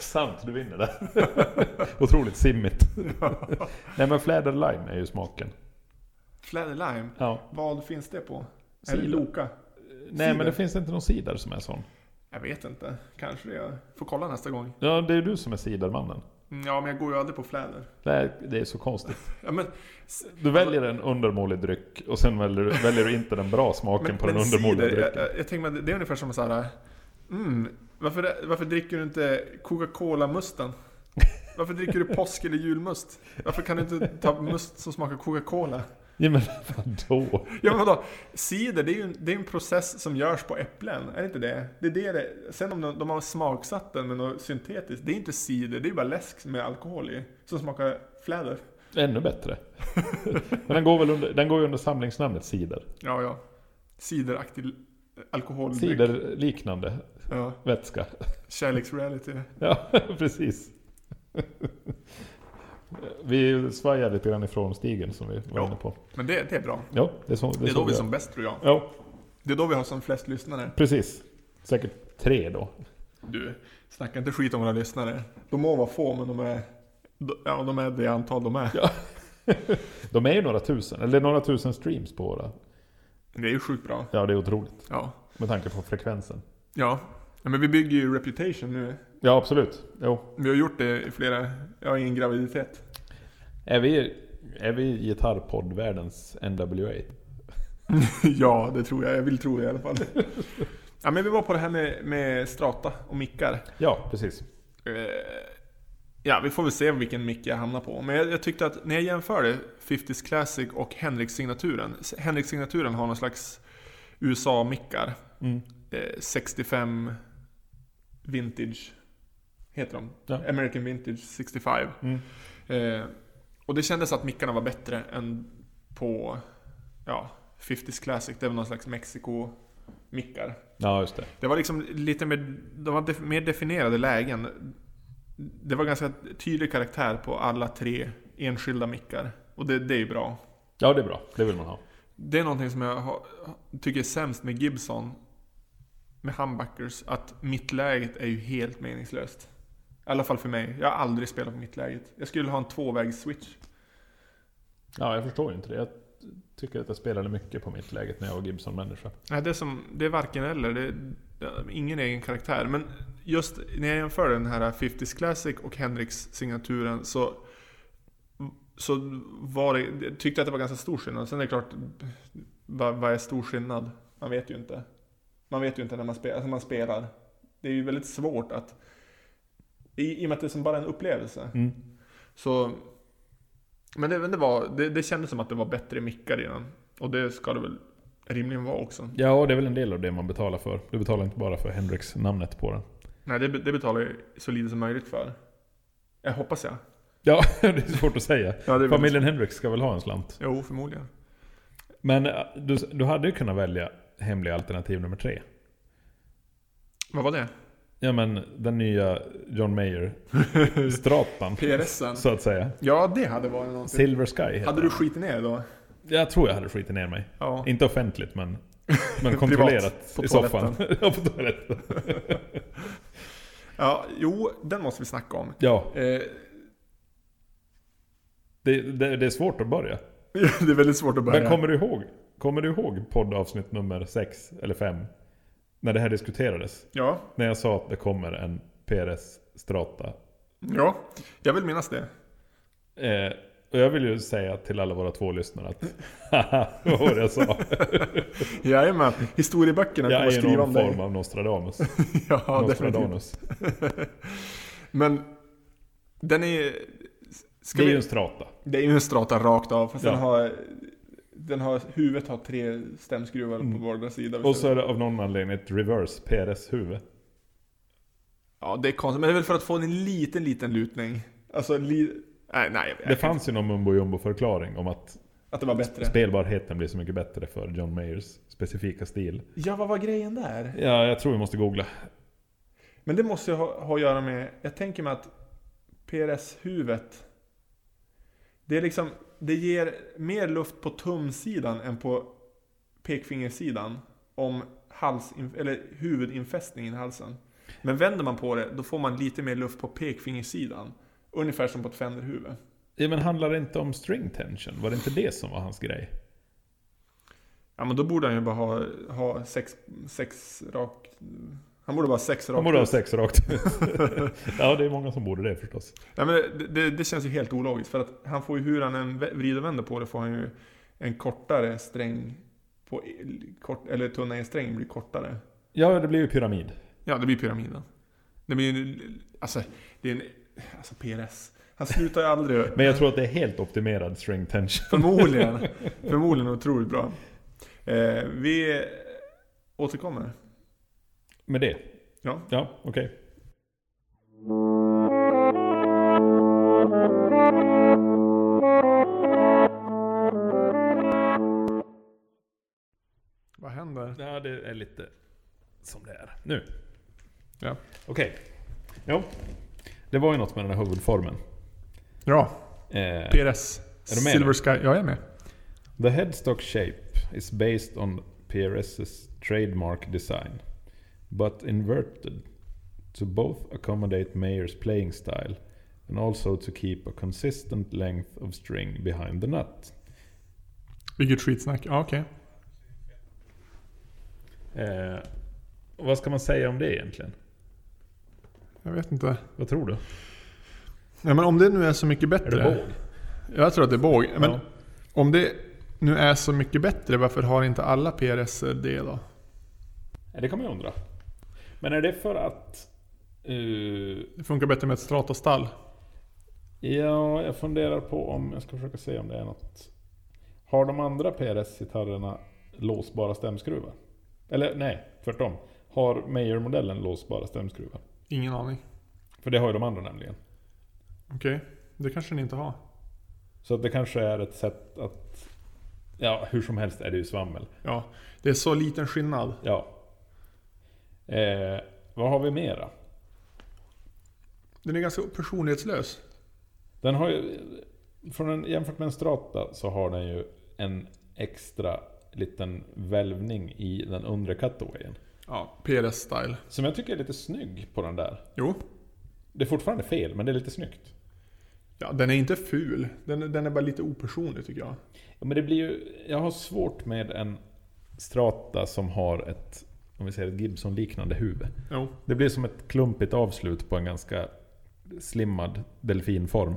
Speaker 2: Sant, du vinner där. Otroligt simmigt. Nej men fläder lime är ju smaken.
Speaker 1: Fläder lime.
Speaker 2: Ja.
Speaker 1: Vad finns det på? Är det
Speaker 2: Cider.
Speaker 1: Loka?
Speaker 2: Nej men
Speaker 1: Cider.
Speaker 2: det finns inte någon cider som är sån.
Speaker 1: Jag vet inte. Kanske det. Jag får kolla nästa gång.
Speaker 2: Ja, det är ju du som är cidermannen.
Speaker 1: Mm, Ja, men jag går ju aldrig på fläder.
Speaker 2: Nej, det är så konstigt.
Speaker 1: Ja, men,
Speaker 2: Du väljer en undermålig dryck och sen väljer du, väljer du inte den bra smaken på den undermåliga
Speaker 1: cider, eh, jag,
Speaker 2: drycken.
Speaker 1: jag, jag tänker mig att det är ungefär som så här. Mm, varför, varför dricker du inte Coca-Cola-musten? Varför dricker du påsk eller julmust? Varför kan du inte ta must som smakar Coca-Cola?
Speaker 2: Ja, men vadå?
Speaker 1: Ja men vadå? Cider, det är ju en, det är en process som görs på äpplen, är det inte det? det, är det, det sen om de, de har smaksatt den med något syntetiskt, det är inte cider, det är bara läsk med alkohol i. Som smakar fläder.
Speaker 2: Ännu bättre. Men den går väl under, den går ju under samlingsnamnet cider.
Speaker 1: Ja, ja. Cideraktig l- alkoholdryck.
Speaker 2: Ciderliknande
Speaker 1: Ja.
Speaker 2: vätska.
Speaker 1: Kärleksreality.
Speaker 2: Ja, precis. Vi svajar lite grann ifrån stigen som vi var
Speaker 1: Ja.
Speaker 2: inne på.
Speaker 1: Men det, det är bra.
Speaker 2: Ja, det är så
Speaker 1: Det är då
Speaker 2: så
Speaker 1: vi är
Speaker 2: gör.
Speaker 1: som bäst tror jag.
Speaker 2: Ja,
Speaker 1: Det är då vi har som flest lyssnare.
Speaker 2: precis. Säkert tre då.
Speaker 1: Du, snacka inte skit om våra lyssnare. De må vara få, men de är... de- Ja, de är det antal de är.
Speaker 2: De är ju några tusen, eller några tusen streams på våra.
Speaker 1: Det är ju sjukt bra.
Speaker 2: Ja, det är otroligt.
Speaker 1: Ja.
Speaker 2: Med tanke på frekvensen.
Speaker 1: Ja. ja men vi bygger ju reputation nu.
Speaker 2: Ja, absolut. Jo.
Speaker 1: Vi har gjort det i flera... Ja, i en graviditet.
Speaker 2: Är vi, är vi gitarrpoddvärldens NWA?
Speaker 1: ja, det tror jag. Jag vill tro det i alla fall. ja, men vi var på det här med, med strata och mickar.
Speaker 2: Ja, precis.
Speaker 1: Eh, Ja, vi får väl se vilken mick jag hamnar på. Men jag, jag tyckte att när jag jämförde 50s Classic och Henrik-signaturen. S- Henrik-signaturen har någon slags USA-mickar.
Speaker 2: Mm.
Speaker 1: Eh, 65 Vintage heter de.
Speaker 2: Ja.
Speaker 1: American Vintage 65.
Speaker 2: Mm.
Speaker 1: Eh, och det kändes att mickarna var bättre än på ja, 50s Classic. Det var någon slags Mexiko-mickar.
Speaker 2: Ja, just det.
Speaker 1: Det var liksom lite mer, de var def, mer definierade lägen. Det var ganska tydlig karaktär på alla tre enskilda mickar. Och det, det är ju bra.
Speaker 2: Ja, det är bra. Det vill man ha.
Speaker 1: Det är någonting som jag har, tycker är sämst med Gibson. Med humbuckers. Att mittläget är ju helt meningslöst. I alla fall för mig. Jag har aldrig spelat på mittläget. Jag skulle ha en tvåvägs-switch.
Speaker 2: Ja, jag förstår ju inte det. Jag tycker att jag spelade mycket på mitt läget när jag var Gibson-människa.
Speaker 1: Nej, det är, som, det är varken eller. Det är ja, ingen egen karaktär. Men just när jag jämför den här 50s Classic och Henriks signaturen så, så var det, jag tyckte jag att det var ganska stor skillnad. Sen är det klart, vad, vad är stor skillnad? Man vet ju inte. Man vet ju inte när man spelar. Alltså man spelar. Det är ju väldigt svårt att... I, I och med att det är som bara en upplevelse.
Speaker 2: Mm.
Speaker 1: Så... Men det, men det, var, det, det kändes som att det var bättre mickar innan. Och det ska det väl rimligen vara också.
Speaker 2: Ja, det är väl en del av det man betalar för. Du betalar inte bara för Hendrix-namnet på den.
Speaker 1: Nej, det, det betalar jag så lite som möjligt för. Jag hoppas jag.
Speaker 2: Ja, det är svårt att säga.
Speaker 1: Ja, det är
Speaker 2: Familjen Hendrix ska väl ha en slant.
Speaker 1: Jo, förmodligen.
Speaker 2: Men eh, du, du hade ju kunnat välja hemliga alternativ nummer tre.
Speaker 1: Vad var det?
Speaker 2: Ja men den nya John Mayer stratan
Speaker 1: PRSen?
Speaker 2: så att säga.
Speaker 1: Ja, det hade varit någonting.
Speaker 2: Silver Sky heter
Speaker 1: Hade du skitit ner då?
Speaker 2: den. Jag tror jag hade skitit ner mig.
Speaker 1: Ja.
Speaker 2: Inte offentligt men, men kontrollerat
Speaker 1: på
Speaker 2: i soffan. ja, på toaletten.
Speaker 1: ja, jo, den måste vi snacka om.
Speaker 2: Ja,
Speaker 1: Eh,
Speaker 2: det, det, det är svårt att börja.
Speaker 1: det är väldigt svårt att börja.
Speaker 2: Men kommer du ihåg? Kommer du ihåg poddavsnitt nummer 6 eller 5? När det här diskuterades.
Speaker 1: Ja,
Speaker 2: När jag sa att det kommer en PRS strata
Speaker 1: ja, jag vill minnas det.
Speaker 2: Eh, och jag vill ju säga till alla våra två lyssnare att haha, vad var det jag sa?
Speaker 1: Jajamän, historieböckerna
Speaker 2: Jag
Speaker 1: kommer
Speaker 2: är ju
Speaker 1: skriva
Speaker 2: någon
Speaker 1: om
Speaker 2: form
Speaker 1: dig.
Speaker 2: av Nostradamus.
Speaker 1: Ja, definitivt.
Speaker 2: Nostradamus.
Speaker 1: Men den är... Ska
Speaker 2: Det är
Speaker 1: vi...
Speaker 2: ju en strata.
Speaker 1: Det är ju en strata rakt av, fast
Speaker 2: Ja.
Speaker 1: den har... Den har, huvudet har tre stämskruvar
Speaker 2: Mm.
Speaker 1: på vardera sida.
Speaker 2: Och så är det av någon anledning ett reverse PRS-huvud.
Speaker 1: Ja, det är konstigt. Men det är väl för att få en liten, liten lutning. Alltså, li... nej, nej. jag-
Speaker 2: Det fanns ju någon mumbo jumbo förklaring om att
Speaker 1: Att det var bättre.
Speaker 2: spelbarheten blir så mycket bättre för John Mayers specifika stil.
Speaker 1: Ja, vad var grejen där?
Speaker 2: Ja, jag tror vi måste googla.
Speaker 1: Men det måste ju ha, ha att göra med, jag tänker mig att PRS-huvudet, det är liksom, det ger mer luft på tumsidan än på pekfingersidan om hals, eller huvudinfästningen i halsen. Men vänder man på det, då får man lite mer luft på pekfingersidan. Ungefär som på ett fänderhuvud.
Speaker 2: Ja, men handlar det inte om string tension? Var det inte det som var hans grej?
Speaker 1: Ja men då borde han ju bara ha, ha sex, sex rak... Han borde bara ha sex
Speaker 2: Han
Speaker 1: rakt
Speaker 2: borde ha
Speaker 1: ut.
Speaker 2: sex rakt ut. Ja, det är många som borde det förstås.
Speaker 1: Ja, men det, det, det känns ju helt ologiskt för att han får ju hur han än vä- vrider och vänder på det får han ju en kortare sträng på, kort, eller tunna en sträng blir kortare.
Speaker 2: Ja, det blir ju pyramid.
Speaker 1: Ja, det blir pyramiden. Det blir ju, alltså, det är en, alltså PRS. Han slutar ju aldrig.
Speaker 2: Men jag tror att det är helt optimerad string tension.
Speaker 1: Förmodligen. Förmodligen otroligt bra. Eh, vi återkommer.
Speaker 2: Med det?
Speaker 1: Ja.
Speaker 2: Ja, okej.
Speaker 1: Vad händer?
Speaker 2: Ja, det är lite som det är nu.
Speaker 1: Ja.
Speaker 2: Okej. Jo. Det var ju något med den här huvudformen.
Speaker 1: Ja,
Speaker 2: Eh,
Speaker 1: PRS.
Speaker 2: Är du med
Speaker 1: Silver
Speaker 2: nu?
Speaker 1: Sky. Ja, jag är med.
Speaker 2: The headstock shape is based on PRS's trademark design, but inverted to both accommodate Mayer's playing style and also to keep a consistent length of string behind the nut.
Speaker 1: Vilket skitsnack. Ja, okej.
Speaker 2: Eh, och vad ska man säga om det egentligen?
Speaker 1: Jag vet inte.
Speaker 2: Vad tror du?
Speaker 1: Ja, men om det nu är så mycket bättre.
Speaker 2: Är det båg?
Speaker 1: Jag tror att det är båg. Men
Speaker 2: Ja.
Speaker 1: om det nu är så mycket bättre, varför har inte alla PRS det då?
Speaker 2: Ja, Eh, Det kan man ju undra. Men är det för att... eh,
Speaker 1: Det funkar bättre med ett stratostall.
Speaker 2: Ja, jag funderar på om, jag ska försöka se om det är något. Har de andra PRS-gitarrerna låsbara stämskruvar? Eller nej, tvärtom. Har Mayer-modellen låsbara stämskruvar?
Speaker 1: Ingen aning.
Speaker 2: För det har ju de andra nämligen.
Speaker 1: Okej, det kanske ni inte har.
Speaker 2: Så att det kanske är ett sätt att... Ja, hur som helst är det ju svammel.
Speaker 1: Ja, det är så liten skillnad.
Speaker 2: Ja. Eh, vad har vi mera?
Speaker 1: Den är ganska personlighetslös.
Speaker 2: Den har ju... Från en, jämfört med en strata så har den ju en extra liten välvning i den undre cutawayen.
Speaker 1: Ja, PRS-style.
Speaker 2: Som jag tycker är lite snygg på den där.
Speaker 1: Jo.
Speaker 2: Det är fortfarande fel, men det är lite snyggt.
Speaker 1: Ja, den är inte ful. Den, är- den är bara lite opersonlig tycker jag.
Speaker 2: Ja, men det blir ju, jag har svårt med en strata som har ett, om vi säger ett Gibson-liknande huvud.
Speaker 1: Jo.
Speaker 2: Det blir som ett klumpigt avslut på en ganska slimmad delfinform.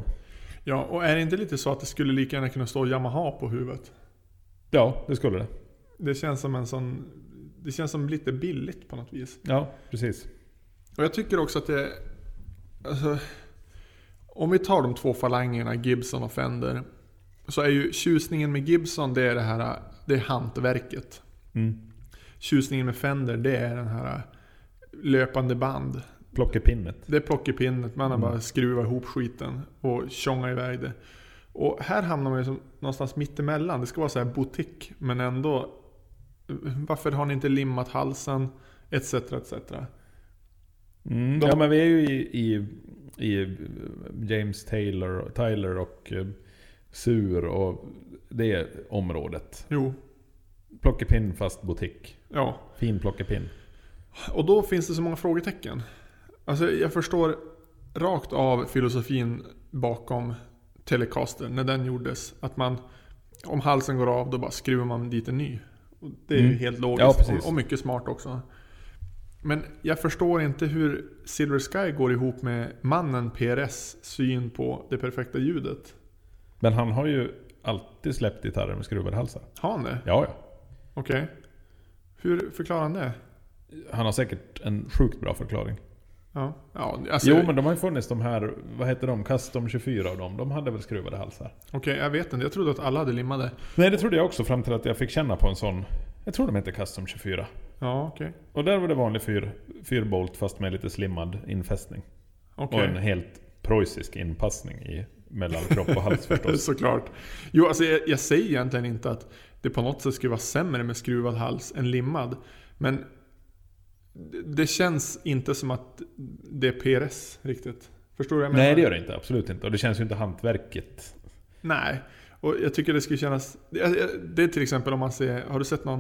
Speaker 1: Ja, och är det inte lite så att det skulle lika gärna kunna stå Yamaha på huvudet?
Speaker 2: Ja, det skulle det.
Speaker 1: Det känns som en sån... Det känns som lite billigt på något vis.
Speaker 2: Ja, precis.
Speaker 1: Och jag tycker också att det... Alltså, om vi tar de två falangerna, Gibson och Fender. Så är ju tjusningen med Gibson, det är det här... Det är hantverket.
Speaker 2: Mm.
Speaker 1: Tjusningen med Fender, det är den här löpande band.
Speaker 2: Plockepinnet.
Speaker 1: Det är plockepinnet, man har
Speaker 2: Mm.
Speaker 1: bara skruvar ihop skiten och tjongar iväg det. Och här hamnar man ju som någonstans mittemellan. Det ska vara så här butik, men ändå... Varför har ni inte limmat halsen? Etc, etc.
Speaker 2: Mm.
Speaker 1: De-
Speaker 2: Ja, men vi är ju i, i, i James Taylor, Tyler och eh, Sur och det området.
Speaker 1: Jo,
Speaker 2: Plockepinn fast butik.
Speaker 1: ja.
Speaker 2: Fin plockepinn.
Speaker 1: Och då finns det så många frågetecken. Alltså jag förstår rakt av filosofin bakom Telecaster när den gjordes. Att man, om halsen går av, då bara skruvar man dit en ny. Och det är ju
Speaker 2: Mm.
Speaker 1: helt
Speaker 2: Ja,
Speaker 1: logiskt
Speaker 2: precis.
Speaker 1: och, och mycket smart också. Men jag förstår inte hur Silver Sky går ihop med mannen PRS syn på det perfekta ljudet.
Speaker 2: Men han har ju alltid släppt gitarrer med skruvad halsar.
Speaker 1: Har han det?
Speaker 2: Ja, ja.
Speaker 1: Okej. Hur förklarar han det?
Speaker 2: Han har säkert en sjukt bra förklaring.
Speaker 1: Ja, ja alltså,
Speaker 2: jo, men de har ju funnits de här, vad heter de, Custom 24 av dem. De hade väl skruvade halsar?
Speaker 1: okej jag vet inte. Jag trodde att alla hade limmade.
Speaker 2: Nej, det trodde jag också fram till att jag fick känna på en sån. Jag tror de hette Custom 24.
Speaker 1: Ja, okej.
Speaker 2: Och där var det vanlig fyr, fyrbolt fast med lite slimmad infästning.
Speaker 1: Okej.
Speaker 2: Och en helt preussisk inpassning i mellan kropp och hals förstås.
Speaker 1: Såklart. Jo, alltså jag, jag säger egentligen inte att det på något sätt skulle vara sämre med skruvad hals än limmad. Men det- det känns inte som att det är PRS riktigt. Förstår du vad jag menar?
Speaker 2: Nej det gör det inte, absolut inte. Och det känns ju inte hantverket.
Speaker 1: Nej, och jag tycker det skulle kännas... jag- jag- Det är till exempel om man ser... Har du sett någon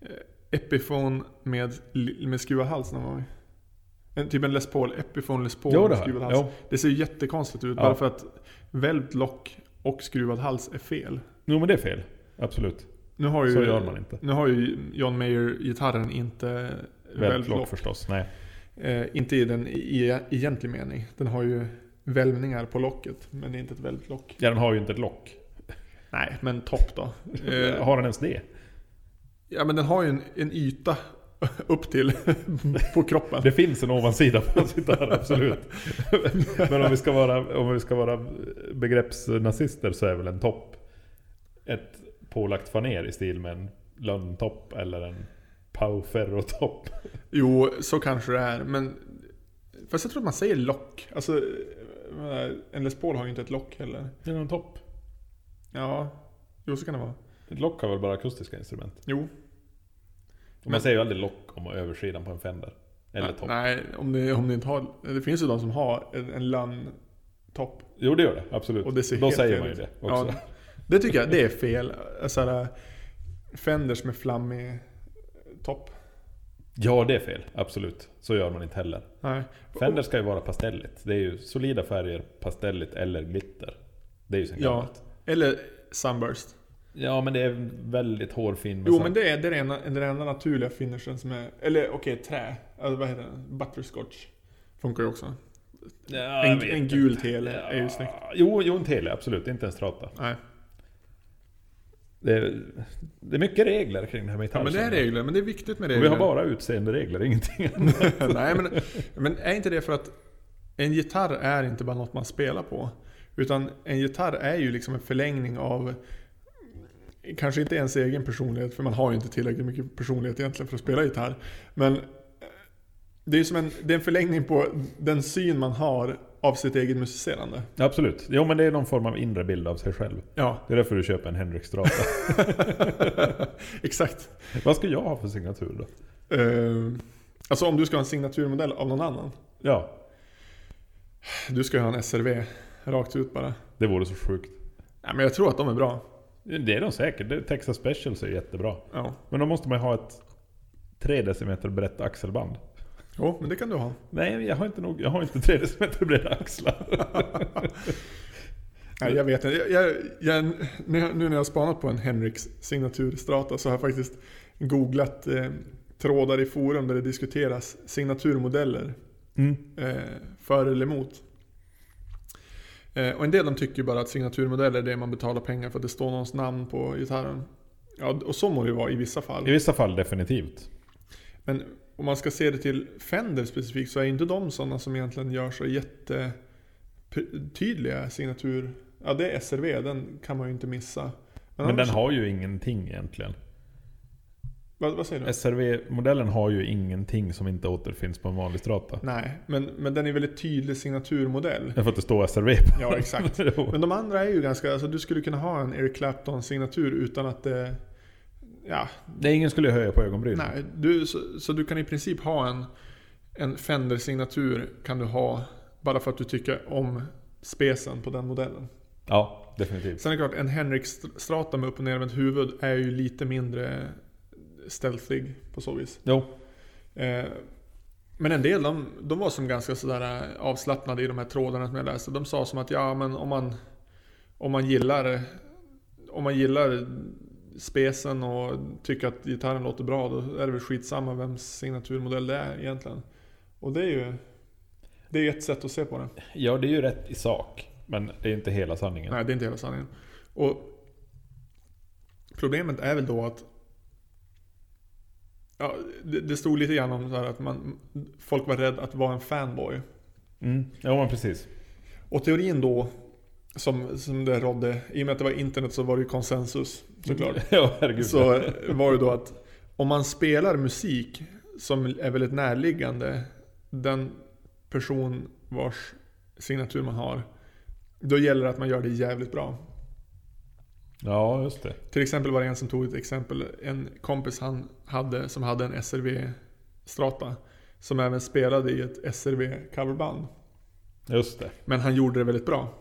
Speaker 1: eh, Epiphone med, li- med skruvad hals någon gång? En, typ en Les Paul, Epiphone Les Paul
Speaker 2: Jo det
Speaker 1: med
Speaker 2: har
Speaker 1: skruvad
Speaker 2: jag.
Speaker 1: hals.
Speaker 2: Jo.
Speaker 1: Det ser ju jättekonstigt ut
Speaker 2: Ja.
Speaker 1: bara för att välvt lock och skruvad hals är fel.
Speaker 2: jo men det är fel. Absolut.
Speaker 1: Nu har ju,
Speaker 2: Så gör man inte.
Speaker 1: Nu har ju John Mayer-gitarren inte välvt
Speaker 2: Vältlock
Speaker 1: lock.
Speaker 2: förstås. Nej.
Speaker 1: Eh, inte i den i, i egentlig mening. Den har ju välvningar på locket, men det är inte ett välvt lock.
Speaker 2: Ja den har ju inte ett lock.
Speaker 1: Nej, men topp då. Eh,
Speaker 2: Har den ens det?
Speaker 1: Ja men den har ju en, en yta upp till på kroppen.
Speaker 2: Det finns en ovansida på hans gitarr, absolut. Men om vi ska vara, om vi ska vara begreppsnazister så är väl en topp ett pålagt faner i stil med en lönntopp eller en Pau Ferro-topp.
Speaker 1: Jo, så kanske det är. Men fast jag tror att man säger lock. Alltså, jag menar, en Les Paul har ju inte ett lock heller.
Speaker 2: Det är en topp.
Speaker 1: Ja, jo så kan det vara.
Speaker 2: Ett lock har väl bara akustiska instrument?
Speaker 1: Jo.
Speaker 2: Och
Speaker 1: Men-
Speaker 2: man säger ju aldrig lock om översidan på en Fender. Eller
Speaker 1: nej,
Speaker 2: topp.
Speaker 1: nej, om ni, om ni inte har... Det finns ju de som har en, en lönntopp.
Speaker 2: Jo det gör det, absolut.
Speaker 1: Och det ser
Speaker 2: Då
Speaker 1: helt
Speaker 2: säger
Speaker 1: fel
Speaker 2: man ju
Speaker 1: ut.
Speaker 2: det också.
Speaker 1: Ja, det tycker jag, det är fel. Alltså, Så här, Fenders med flammig topp.
Speaker 2: Ja, det är fel. Absolut. Så gör man inte heller.
Speaker 1: Nej.
Speaker 2: Fender ska ju vara pastelligt. Det är ju solida färger, pastelligt eller glitter. Det är ju sen
Speaker 1: Ja.
Speaker 2: gammalt.
Speaker 1: Eller Sunburst.
Speaker 2: Ja, men det är väldigt hårfin.
Speaker 1: Jo men det är den enda, den enda naturliga finishen som är... Eller okej, trä. Alltså, vad heter den? Butterscotch. Funkar ju också.
Speaker 2: ja, jag
Speaker 1: en,
Speaker 2: vet
Speaker 1: en
Speaker 2: inte.
Speaker 1: gul tele
Speaker 2: Ja.
Speaker 1: är ju snyggt.
Speaker 2: Jo, jo, en tele. Absolut. Inte en strata.
Speaker 1: Nej.
Speaker 2: Det är, det är mycket regler kring det här med
Speaker 1: Ja, men det är
Speaker 2: gitarrkänning.
Speaker 1: regler, men det är viktigt med
Speaker 2: Och vi
Speaker 1: regler.
Speaker 2: har bara utseende regler, ingenting annat.
Speaker 1: Nej men, men är inte det för att en gitarr är inte bara något man spelar på. Utan en gitarr är ju liksom en förlängning av Kanske inte ens egen personlighet, för man har ju inte tillräckligt mycket personlighet egentligen för att spela gitarr. Men eh, det är ju som en, det är en förlängning på den syn man har av sitt eget musicerande.
Speaker 2: Absolut. Jo, men det är någon form av inre bild av sig själv.
Speaker 1: Ja,
Speaker 2: Det är därför du köper en Henrik Strata.
Speaker 1: exakt.
Speaker 2: Vad ska jag ha för signatur då?
Speaker 1: Eh, alltså om du ska ha en signaturmodell av någon annan.
Speaker 2: Ja,
Speaker 1: Du ska ju ha en SRV, rakt ut bara.
Speaker 2: det vore så sjukt.
Speaker 1: Nej men jag tror att de är bra.
Speaker 2: Det är de säkert. Det- Texas Specials är jättebra.
Speaker 1: Ja.
Speaker 2: Men då måste man ju ha ett 3 decimeter brett axelband.
Speaker 1: Jo, men det kan du ha.
Speaker 2: Nej, jag har inte, nog, jag har inte 3 decimeter breda axlar.
Speaker 1: Nej, jag vet inte. Jag, jag, jag, nu, nu när jag har spanat på en Henriks signaturstrata så har jag faktiskt googlat eh, trådar i forum där det diskuteras signaturmodeller
Speaker 2: Mm.
Speaker 1: eh, för eller emot. Eh, och en del de tycker ju bara att signaturmodeller är det man betalar pengar för att det står någons namn på gitarren. Ja, och så må det ju vara i vissa fall.
Speaker 2: I vissa fall definitivt.
Speaker 1: Men om man ska se det till Fender specifikt så är inte de sådana som egentligen gör så jättetydliga signatur... Ja, det är SRV, den kan man ju inte missa. Men,
Speaker 2: Men den
Speaker 1: annars-
Speaker 2: har ju ingenting egentligen.
Speaker 1: vad, vad säger du?
Speaker 2: SRV-modellen har ju ingenting som inte återfinns på en vanlig strata.
Speaker 1: Nej, men, men den är väldigt tydlig signaturmodell.
Speaker 2: Jag får inte stå SRV på
Speaker 1: Ja, exakt. Men de andra är ju ganska... Alltså du skulle kunna ha en Eric Clapton-signatur utan att det... Ja,
Speaker 2: Nej, ingen skulle ju höja på ögonbrynen.
Speaker 1: nej. Du, så, så du kan i princip ha en, en Fender-signatur kan du ha bara för att du tycker om specen på den modellen.
Speaker 2: Ja, definitivt.
Speaker 1: Sen är det klart, en Henrik St- Strata med upp och nervänt huvud är ju lite mindre stealthig på så vis.
Speaker 2: Jo,
Speaker 1: Eh, Men en del, de, de var som ganska sådär eh, avslappnade i de här trådarna som jag läste. De sa som att ja, men om man, om man gillar om man gillar specen och tycker att gitarren låter bra, då är det väl skitsamma vems signaturmodell det är egentligen. Och det är ju det är ett sätt att se på det.
Speaker 2: ja det är ju rätt i sak. Men det är inte hela sanningen.
Speaker 1: Nej, det är inte hela sanningen. Och problemet är väl då att ja, det, det stod lite grann om så här att man, folk var rädda att vara en fanboy.
Speaker 2: Mm. Ja, men precis.
Speaker 1: Och teorin då som, som det rådde, i och med att det var internet så var det ju konsensus såklart.
Speaker 2: ja, herregud.
Speaker 1: Så var det då att om man spelar musik som är väldigt närliggande den person vars signatur man har, då gäller det att man gör det jävligt bra.
Speaker 2: Ja, just det.
Speaker 1: Till exempel var det en som tog ett exempel. En kompis han hade som hade en SRV Strata. Som även spelade i ett SRV-coverband.
Speaker 2: Just det.
Speaker 1: Men han gjorde det väldigt bra.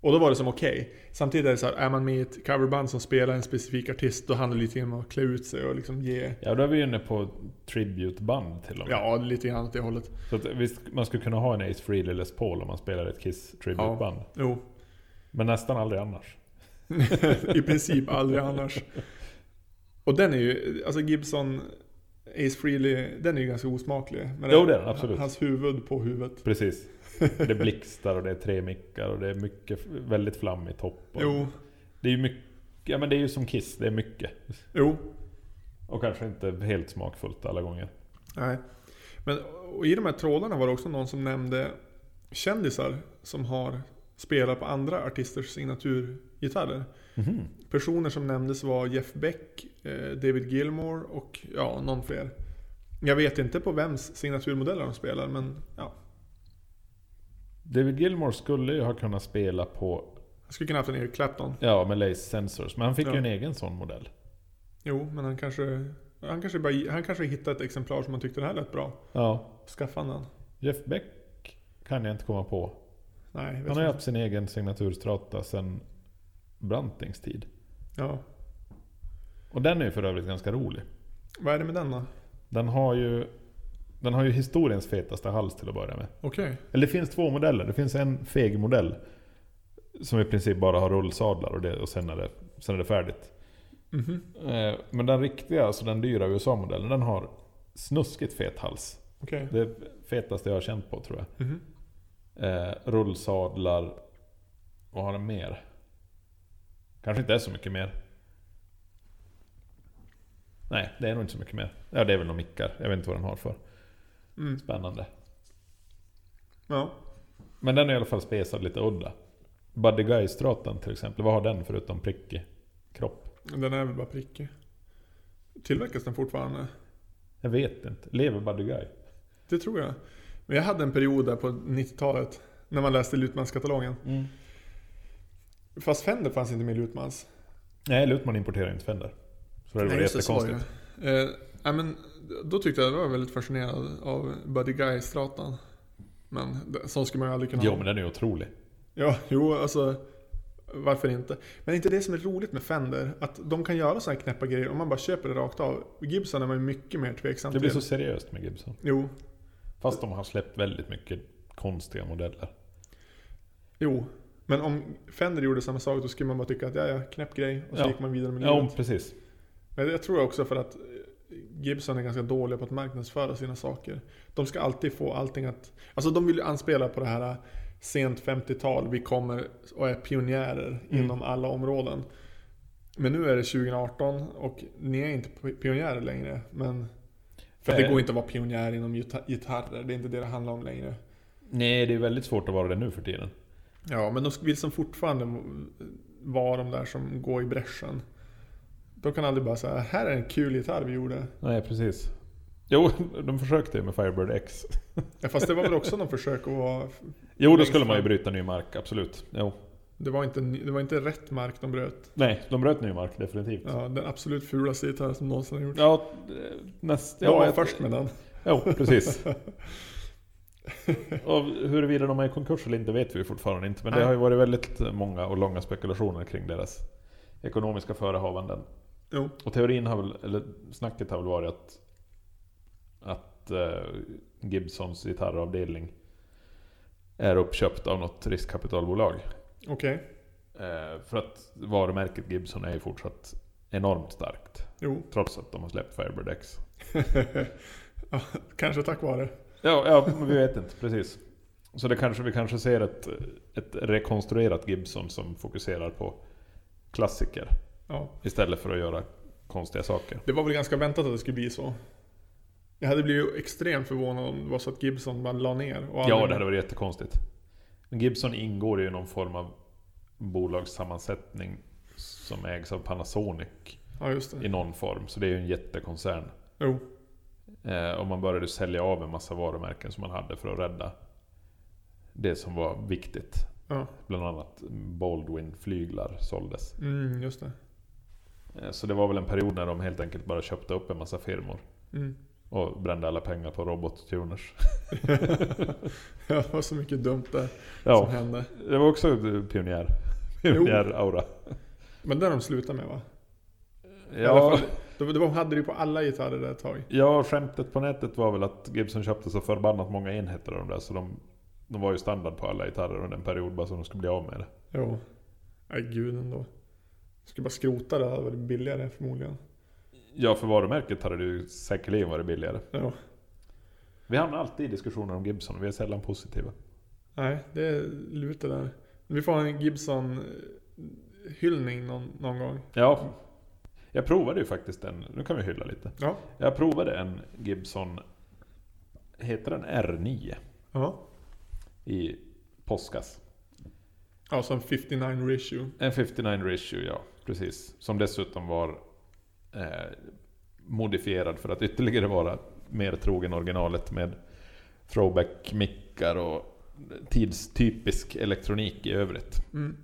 Speaker 1: Och då var det som okej. Samtidigt är det så här, är man med i ett coverband som spelar en specifik artist, då handlar det lite grann om att klä ut sig och liksom ge...
Speaker 2: Ja, då är vi inne på tributeband till och med.
Speaker 1: Ja, lite grann åt det hållet.
Speaker 2: Så att, visst, man skulle kunna ha en Ace Frehley Les Paul om man spelar ett Kiss tributeband.
Speaker 1: Jo,
Speaker 2: Men nästan aldrig annars.
Speaker 1: I princip aldrig annars. Och den är ju, alltså Gibson Ace Frehley, den är ju ganska osmaklig. Men
Speaker 2: Jo, det är den, absolut.
Speaker 1: Hans huvud på huvudet.
Speaker 2: Precis. Det blixtar och det är tre mickar och det är mycket, väldigt flammig topp. Och
Speaker 1: Jo,
Speaker 2: Det är ju mycket, ja men det är ju som Kiss, det är mycket.
Speaker 1: jo,
Speaker 2: Och kanske inte helt smakfullt alla gånger.
Speaker 1: nej. Men och i de här trådarna var det också någon som nämnde kändisar som har spelat på andra artisters signaturgitarrer.
Speaker 2: Mhm.
Speaker 1: Personer som nämndes var Jeff Beck, eh, David Gilmore och ja, någon fler. Jag vet inte på vems signaturmodeller de spelar, men ja.
Speaker 2: David Gilmore skulle ju ha kunnat spela på,
Speaker 1: Jag skulle kunna haft en Eric Clapton.
Speaker 2: ja med Lace Sensors, men han fick
Speaker 1: Ja.
Speaker 2: ju en egen sån modell.
Speaker 1: Jo, men han kanske, han kanske, bara, han kanske hittade ett exemplar som han tyckte det här lät bra.
Speaker 2: Ja.
Speaker 1: Skaffade han den?
Speaker 2: Jeff Beck kan jag inte komma på.
Speaker 1: Nej, jag vet
Speaker 2: Han har ju
Speaker 1: inte.
Speaker 2: haft sin egen signaturstrata sen Brantings tid.
Speaker 1: Ja.
Speaker 2: Och den är ju för övrigt ganska rolig.
Speaker 1: Vad är det med den då?
Speaker 2: Den har ju, den har ju historiens fetaste hals till att börja med.
Speaker 1: Okej.
Speaker 2: Eller det finns två modeller. Det finns en feg modell. Som i princip bara har rullsadlar och, det, och sen, är det, sen är det färdigt.
Speaker 1: Mhm.
Speaker 2: Eh, Men den riktiga, alltså den dyra USA-modellen, den har snuskigt fet hals.
Speaker 1: Okej.
Speaker 2: Det är fetaste jag har känt på tror jag.
Speaker 1: Mhm.
Speaker 2: Eh, rullsadlar. Vad har den mer? Kanske inte är så mycket mer. Nej, det är nog inte så mycket mer. Ja, det är väl några mickar. Jag vet inte vad den har för.
Speaker 1: Mm.
Speaker 2: Spännande.
Speaker 1: Ja.
Speaker 2: Men den är i alla fall spesad lite udda. Buddy Guy-stratan till exempel. Vad har den förutom prickig kropp?
Speaker 1: Den är väl bara prickig. Tillverkas den fortfarande?
Speaker 2: Jag vet inte. Lever Buddy Guy?
Speaker 1: Det tror jag. Men jag hade en period där på 90-talet. När man läste Lutmans-katalogen. Fast Fender fanns inte med i Lutmans.
Speaker 2: Nej, Lutman importerar inte Fender. Så det var
Speaker 1: Nej, just det, så var det.
Speaker 2: jättekonstigt.
Speaker 1: Eh, nej, men då tyckte jag att jag var väldigt fascinerad av Buddy Guy-stratan. Men det- så skulle man ju aldrig kunna
Speaker 2: Jo,
Speaker 1: ha.
Speaker 2: men den är ju otrolig.
Speaker 1: Ja, jo, alltså. Varför inte? Men är inte det som är roligt med Fender? Att de kan göra sådana här knäppa grejer om man bara köper det rakt av. Gibson är man ju mycket mer tveksam
Speaker 2: Det blir så
Speaker 1: till.
Speaker 2: seriöst med Gibson.
Speaker 1: Jo,
Speaker 2: Fast de har släppt väldigt mycket konstiga modeller.
Speaker 1: jo. Men om Fender gjorde samma sak då skulle man bara tycka att ja, ja, knäpp grej. Och så
Speaker 2: Ja.
Speaker 1: gick man vidare med
Speaker 2: Ja,
Speaker 1: livet.
Speaker 2: om- precis.
Speaker 1: Men jag tror också för att eh, Gibson är ganska dåliga på att marknadsföra sina saker. De ska alltid få allting att... Alltså de vill ju anspela på det här eh, sent 50-tal. Vi kommer och är pionjärer
Speaker 2: Mm.
Speaker 1: inom alla områden. Men nu är det 2018 och ni är inte pi- pionjärer längre. Men för att det
Speaker 2: Nej.
Speaker 1: går inte att vara pionjär inom gita- gitarrer. Det är inte det det handlar om längre.
Speaker 2: Nej, det är väldigt svårt att vara det nu för tiden.
Speaker 1: Ja, men de vill som fortfarande vara de där som går i bräschen. De kan aldrig bara säga här är en kul gitarr vi gjorde.
Speaker 2: Nej, precis. Jo, de försökte ju med Firebird X.
Speaker 1: Ja, fast det var väl också någon försök att vara...
Speaker 2: Jo, då
Speaker 1: Längst
Speaker 2: skulle man ju
Speaker 1: fram.
Speaker 2: bryta ny mark, absolut. Jo.
Speaker 1: Det var inte, det var inte rätt mark de bröt.
Speaker 2: Nej, de bröt ny mark, definitivt. Ja,
Speaker 1: Ja, den absolut fulaste gitarr som någonsin har gjorts.
Speaker 2: eh, näst,
Speaker 1: jag var
Speaker 2: jag-
Speaker 1: först med den.
Speaker 2: Jo, precis. Och huruvida de är i konkurs eller inte vet vi ju fortfarande inte. Men det
Speaker 1: Nej.
Speaker 2: har ju varit väldigt många och långa spekulationer kring deras ekonomiska förehavanden.
Speaker 1: Jo.
Speaker 2: Och teorin har väl, eller snacket har väl varit att, att eh, Gibsons gitarravdelning är uppköpt av något riskkapitalbolag.
Speaker 1: Okej.
Speaker 2: Eh, för att varumärket Gibson är ju fortsatt enormt starkt.
Speaker 1: Jo.
Speaker 2: Trots att de har släppt Firebird X.
Speaker 1: ja, kanske tack vare.
Speaker 2: Ja, ja men vi vet inte, precis. Så det kanske, vi kanske ser ett, ett rekonstruerat Gibson som fokuserar på klassiker
Speaker 1: Ja.
Speaker 2: istället för att göra konstiga saker.
Speaker 1: Det var väl ganska väntat att det skulle bli så. Jag hade blivit extremt förvånad om det var så att Gibson bara la ner. Och
Speaker 2: Ja, det hade varit jättekonstigt. Men Gibson ingår ju i någon form av bolagssammansättning som ägs av Panasonic
Speaker 1: Ja, just det.
Speaker 2: i någon form. Så det är ju en jättekoncern.
Speaker 1: Jo.
Speaker 2: Eh, och man började sälja av en massa varumärken som man hade för att rädda det som var viktigt.
Speaker 1: Ja.
Speaker 2: Bland annat Baldwin-flyglar såldes.
Speaker 1: Mm, just det.
Speaker 2: Eh, Så det var väl en period när de helt enkelt bara köpte upp en massa firmor.
Speaker 1: Mm.
Speaker 2: Och brände alla pengar på robottuners.
Speaker 1: Ja, det var så mycket dumt där som
Speaker 2: Ja,
Speaker 1: hände.
Speaker 2: det var också pionjär. Pionjär-aura.
Speaker 1: Men där har de slutat med va? I alla
Speaker 2: Ja,
Speaker 1: fall, de, de hade det ju på alla gitarrer där ett tag.
Speaker 2: ja, skämtet på nätet var väl att Gibson köpte så förbannat många enheter av de där. Så de, de var ju standard på alla gitarrer under en period bara så de skulle bli av med det.
Speaker 1: Jo. Nej gud ändå. Jag skulle bara skrota det, det hade varit billigare förmodligen.
Speaker 2: Ja, för varumärket hade det ju säkerligen varit billigare.
Speaker 1: Ja.
Speaker 2: Vi hamnar alltid i diskussioner om Gibson och vi är sällan positiva.
Speaker 1: Nej, det är lutar där. Vi får ha en Gibson-hyllning någon, någon gång.
Speaker 2: Ja. Jag provade ju faktiskt en, nu kan vi hylla lite.
Speaker 1: Ja.
Speaker 2: Jag provade en Gibson, heter den R9?
Speaker 1: Ja.
Speaker 2: I påskas.
Speaker 1: Ja, som 59 ratio.
Speaker 2: En 59 Ratio, ja. Precis. Som dessutom var eh, modifierad för att ytterligare vara mer trogen originalet med throwback-mickar och tidstypisk elektronik i övrigt.
Speaker 1: Mm.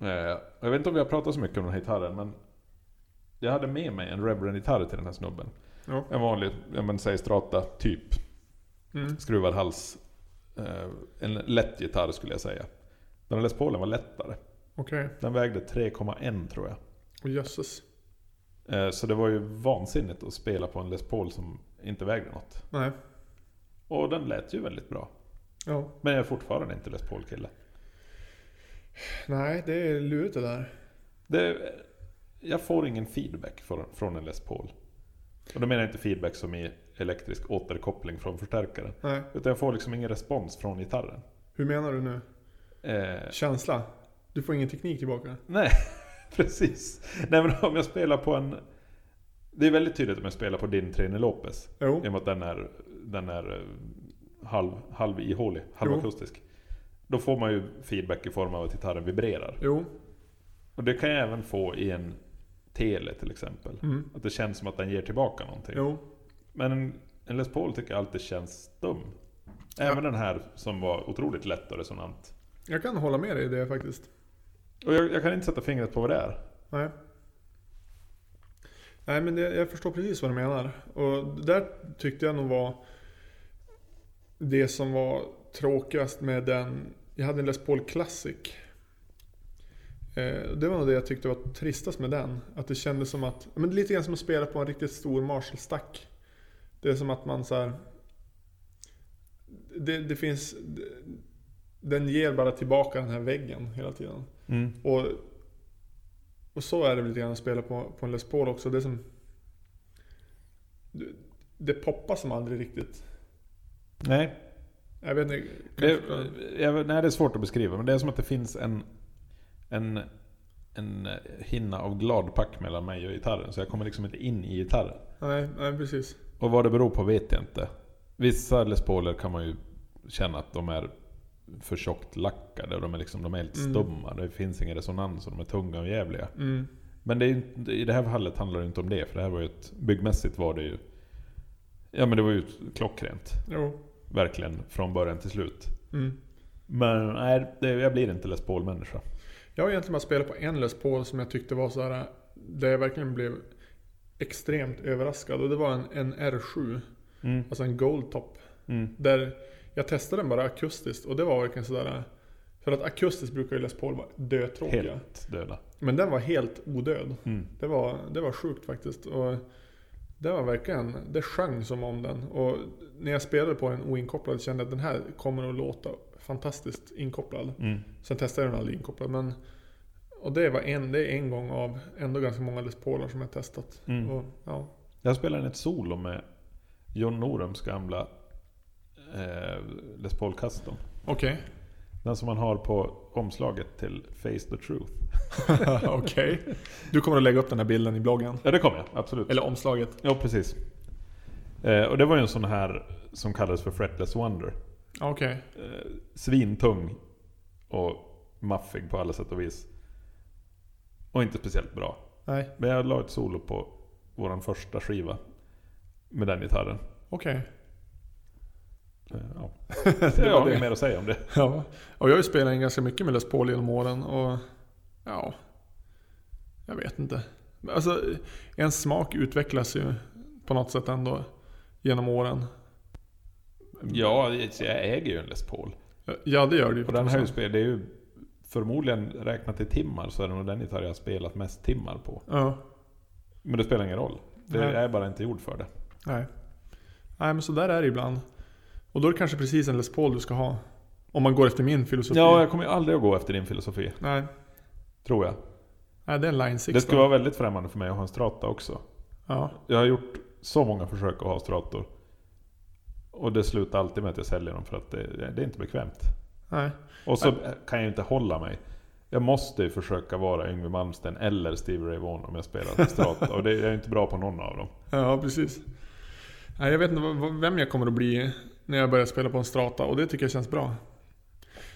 Speaker 2: Eh, Jag vet inte om vi har pratat så mycket om den här gitarren, men jag hade med mig en Reverend-gitarr till den här snubben.
Speaker 1: Ja.
Speaker 2: En vanlig, ja men säg strata, typ.
Speaker 1: Mm.
Speaker 2: Skruvad hals. Eh, En lätt gitarr skulle jag säga. Den här Les Paulen var lättare.
Speaker 1: Okej.
Speaker 2: Den vägde 3,1 tror jag.
Speaker 1: Och jösses.
Speaker 2: Eh, Så det var ju vansinnigt att spela på en Les Paul som inte vägde något.
Speaker 1: Nej.
Speaker 2: Och den lät ju väldigt bra.
Speaker 1: Ja.
Speaker 2: Men jag är fortfarande inte Les Paul-kille.
Speaker 1: Nej, det är lurigt det där.
Speaker 2: Det, jag får ingen feedback från, från en Les Paul. Och då menar jag inte feedback som i elektrisk återkoppling från förstärkaren.
Speaker 1: Nej.
Speaker 2: Utan jag får liksom ingen respons från gitarren.
Speaker 1: Hur menar du nu?
Speaker 2: Eh,
Speaker 1: Känsla? Du får ingen teknik tillbaka?
Speaker 2: nej, precis. Nej men om jag spelar på en... Det är väldigt tydligt om jag spelar på din Trine Lopez.
Speaker 1: Jo.
Speaker 2: I och med att den är, den är eh, halv, halv ihålig, halvakustisk. Då får man ju feedback i form av att gitarren vibrerar.
Speaker 1: Jo.
Speaker 2: Och det kan jag även få i en Tele till exempel.
Speaker 1: Mm.
Speaker 2: Att det känns som att den ger tillbaka någonting.
Speaker 1: Jo.
Speaker 2: Men en, en Les Paul tycker jag alltid känns stum. Även den här som var otroligt lätt och resonant.
Speaker 1: Jag kan hålla med dig i det faktiskt.
Speaker 2: Och jag, jag kan inte sätta fingret på vad det är.
Speaker 1: Nej. Nej men det, jag förstår precis vad du menar. Och där tyckte jag nog var det som var tråkigast med den. Jag hade en Les Paul Classic. Eh, Det var nog det jag tyckte var tristast med den. Att det kändes som att, men lite grann som att spela på en riktigt stor Marshall-stack. Det är som att man så här. Det, det finns, den ger bara tillbaka den här väggen hela tiden. Och, och så är det väl lite grann att spela på, på en Les Paul också. Det, är som, det, det poppar som aldrig riktigt.
Speaker 2: Nej,
Speaker 1: Jag vet inte. kan
Speaker 2: det,
Speaker 1: jag förklara?
Speaker 2: jag, nej, det är svårt att beskriva. Men det är som att det finns en, en, en hinna av gladpack mellan mig och gitarren. Så jag kommer liksom inte in i gitarren.
Speaker 1: nej, nej, precis.
Speaker 2: Och vad det beror på vet jag inte. Vissa Les Pauler kan man ju känna att de är för tjockt lackade. Och de är, liksom, de är helt
Speaker 1: Mm.
Speaker 2: stumma. Det finns ingen resonans och de är tunga och jävliga.
Speaker 1: Mm.
Speaker 2: Men det är, ju inte- i det här fallet handlar det inte om det, för det här var ju ett... Byggmässigt var det ju... Ja men det var ju ett klockrent.
Speaker 1: Jo.
Speaker 2: Verkligen från början till slut.
Speaker 1: Mm.
Speaker 2: Men nej, det, jag blir inte Les Paul-människa.
Speaker 1: Jag har egentligen bara spelat på en Les Paul som jag tyckte var så här. Där jag verkligen blev extremt överraskad. Och det var en, en R7.
Speaker 2: Mm.
Speaker 1: Alltså en Goldtop.
Speaker 2: Mm.
Speaker 1: Där jag testade den bara akustiskt och det var verkligen sådär. För att akustiskt brukar ju Les Paul vara dötråkiga.
Speaker 2: Helt döda.
Speaker 1: Men den var helt odöd.
Speaker 2: Mm.
Speaker 1: Det var, det var sjukt faktiskt. Och det var verkligen, det sjöng som om den. Och när jag spelade på den oinkopplad kände jag att den här kommer att låta fantastiskt inkopplad.
Speaker 2: Mm.
Speaker 1: Sen testade jag den aldrig inkopplad. Men, och det var en, det är en gång av ändå ganska många Les Paular som jag testat.
Speaker 2: Mm.
Speaker 1: Och, ja.
Speaker 2: Jag spelade ett solo med John Norums gamla eh, Les Paul Custom.
Speaker 1: Okej.
Speaker 2: Den som man har på omslaget till Face the Truth.
Speaker 1: Okej. Du kommer att lägga upp den här bilden i bloggen.
Speaker 2: Ja det kommer jag, absolut.
Speaker 1: Eller omslaget.
Speaker 2: Ja precis. Eh, och det var ju en sån här som kallades för Fretless Wonder.
Speaker 1: Ja, Okej.
Speaker 2: eh, svintung och maffig på alla sätt och vis. Och inte speciellt bra.
Speaker 1: Nej,
Speaker 2: Men jag la ett solo på vår första skiva med den gitarren.
Speaker 1: okej.
Speaker 2: Eh, Ja.
Speaker 1: Det
Speaker 2: Jag
Speaker 1: var
Speaker 2: har inget
Speaker 1: det.
Speaker 2: mer att säga om det.
Speaker 1: Ja. Och jag har ju spelat in ganska mycket med Les Paul genom åren och... Ja. Jag vet inte. Men Alltså, ens smak utvecklas ju på något sätt ändå. genom åren.
Speaker 2: Ja, jag äger ju en Les Paul.
Speaker 1: Ja, det gör det ju.
Speaker 2: Och den har ju spel, det är ju förmodligen räknat i timmar så är det nog den gitarr jag har spelat mest timmar på.
Speaker 1: Ja,
Speaker 2: Men det spelar ingen roll. Det
Speaker 1: Nej.
Speaker 2: är bara inte gjord för det.
Speaker 1: nej. Nej, men så där är det ibland. Och då är det kanske precis en Les Paul du ska ha. Om man går efter min filosofi.
Speaker 2: Ja, jag kommer ju aldrig att gå efter din filosofi.
Speaker 1: Nej,
Speaker 2: Tror jag.
Speaker 1: nej, det är en Line 6
Speaker 2: Det skulle
Speaker 1: då.
Speaker 2: vara väldigt främmande för mig att ha en strata också.
Speaker 1: Ja,
Speaker 2: Jag har gjort så många försök att ha strator. Och det slutar alltid med att jag säljer dem för att det, det är inte bekvämt.
Speaker 1: nej.
Speaker 2: Och så kan jag ju inte hålla mig. Jag måste ju försöka vara Yngwie Malmsteen eller Stevie Ray Vaughan om jag spelar på strata. och det, jag är ju inte bra på någon av dem.
Speaker 1: Ja, precis. Nej, jag vet inte vad- vad- vem jag kommer att bli när jag börjar spela på en strata och det tycker jag känns bra.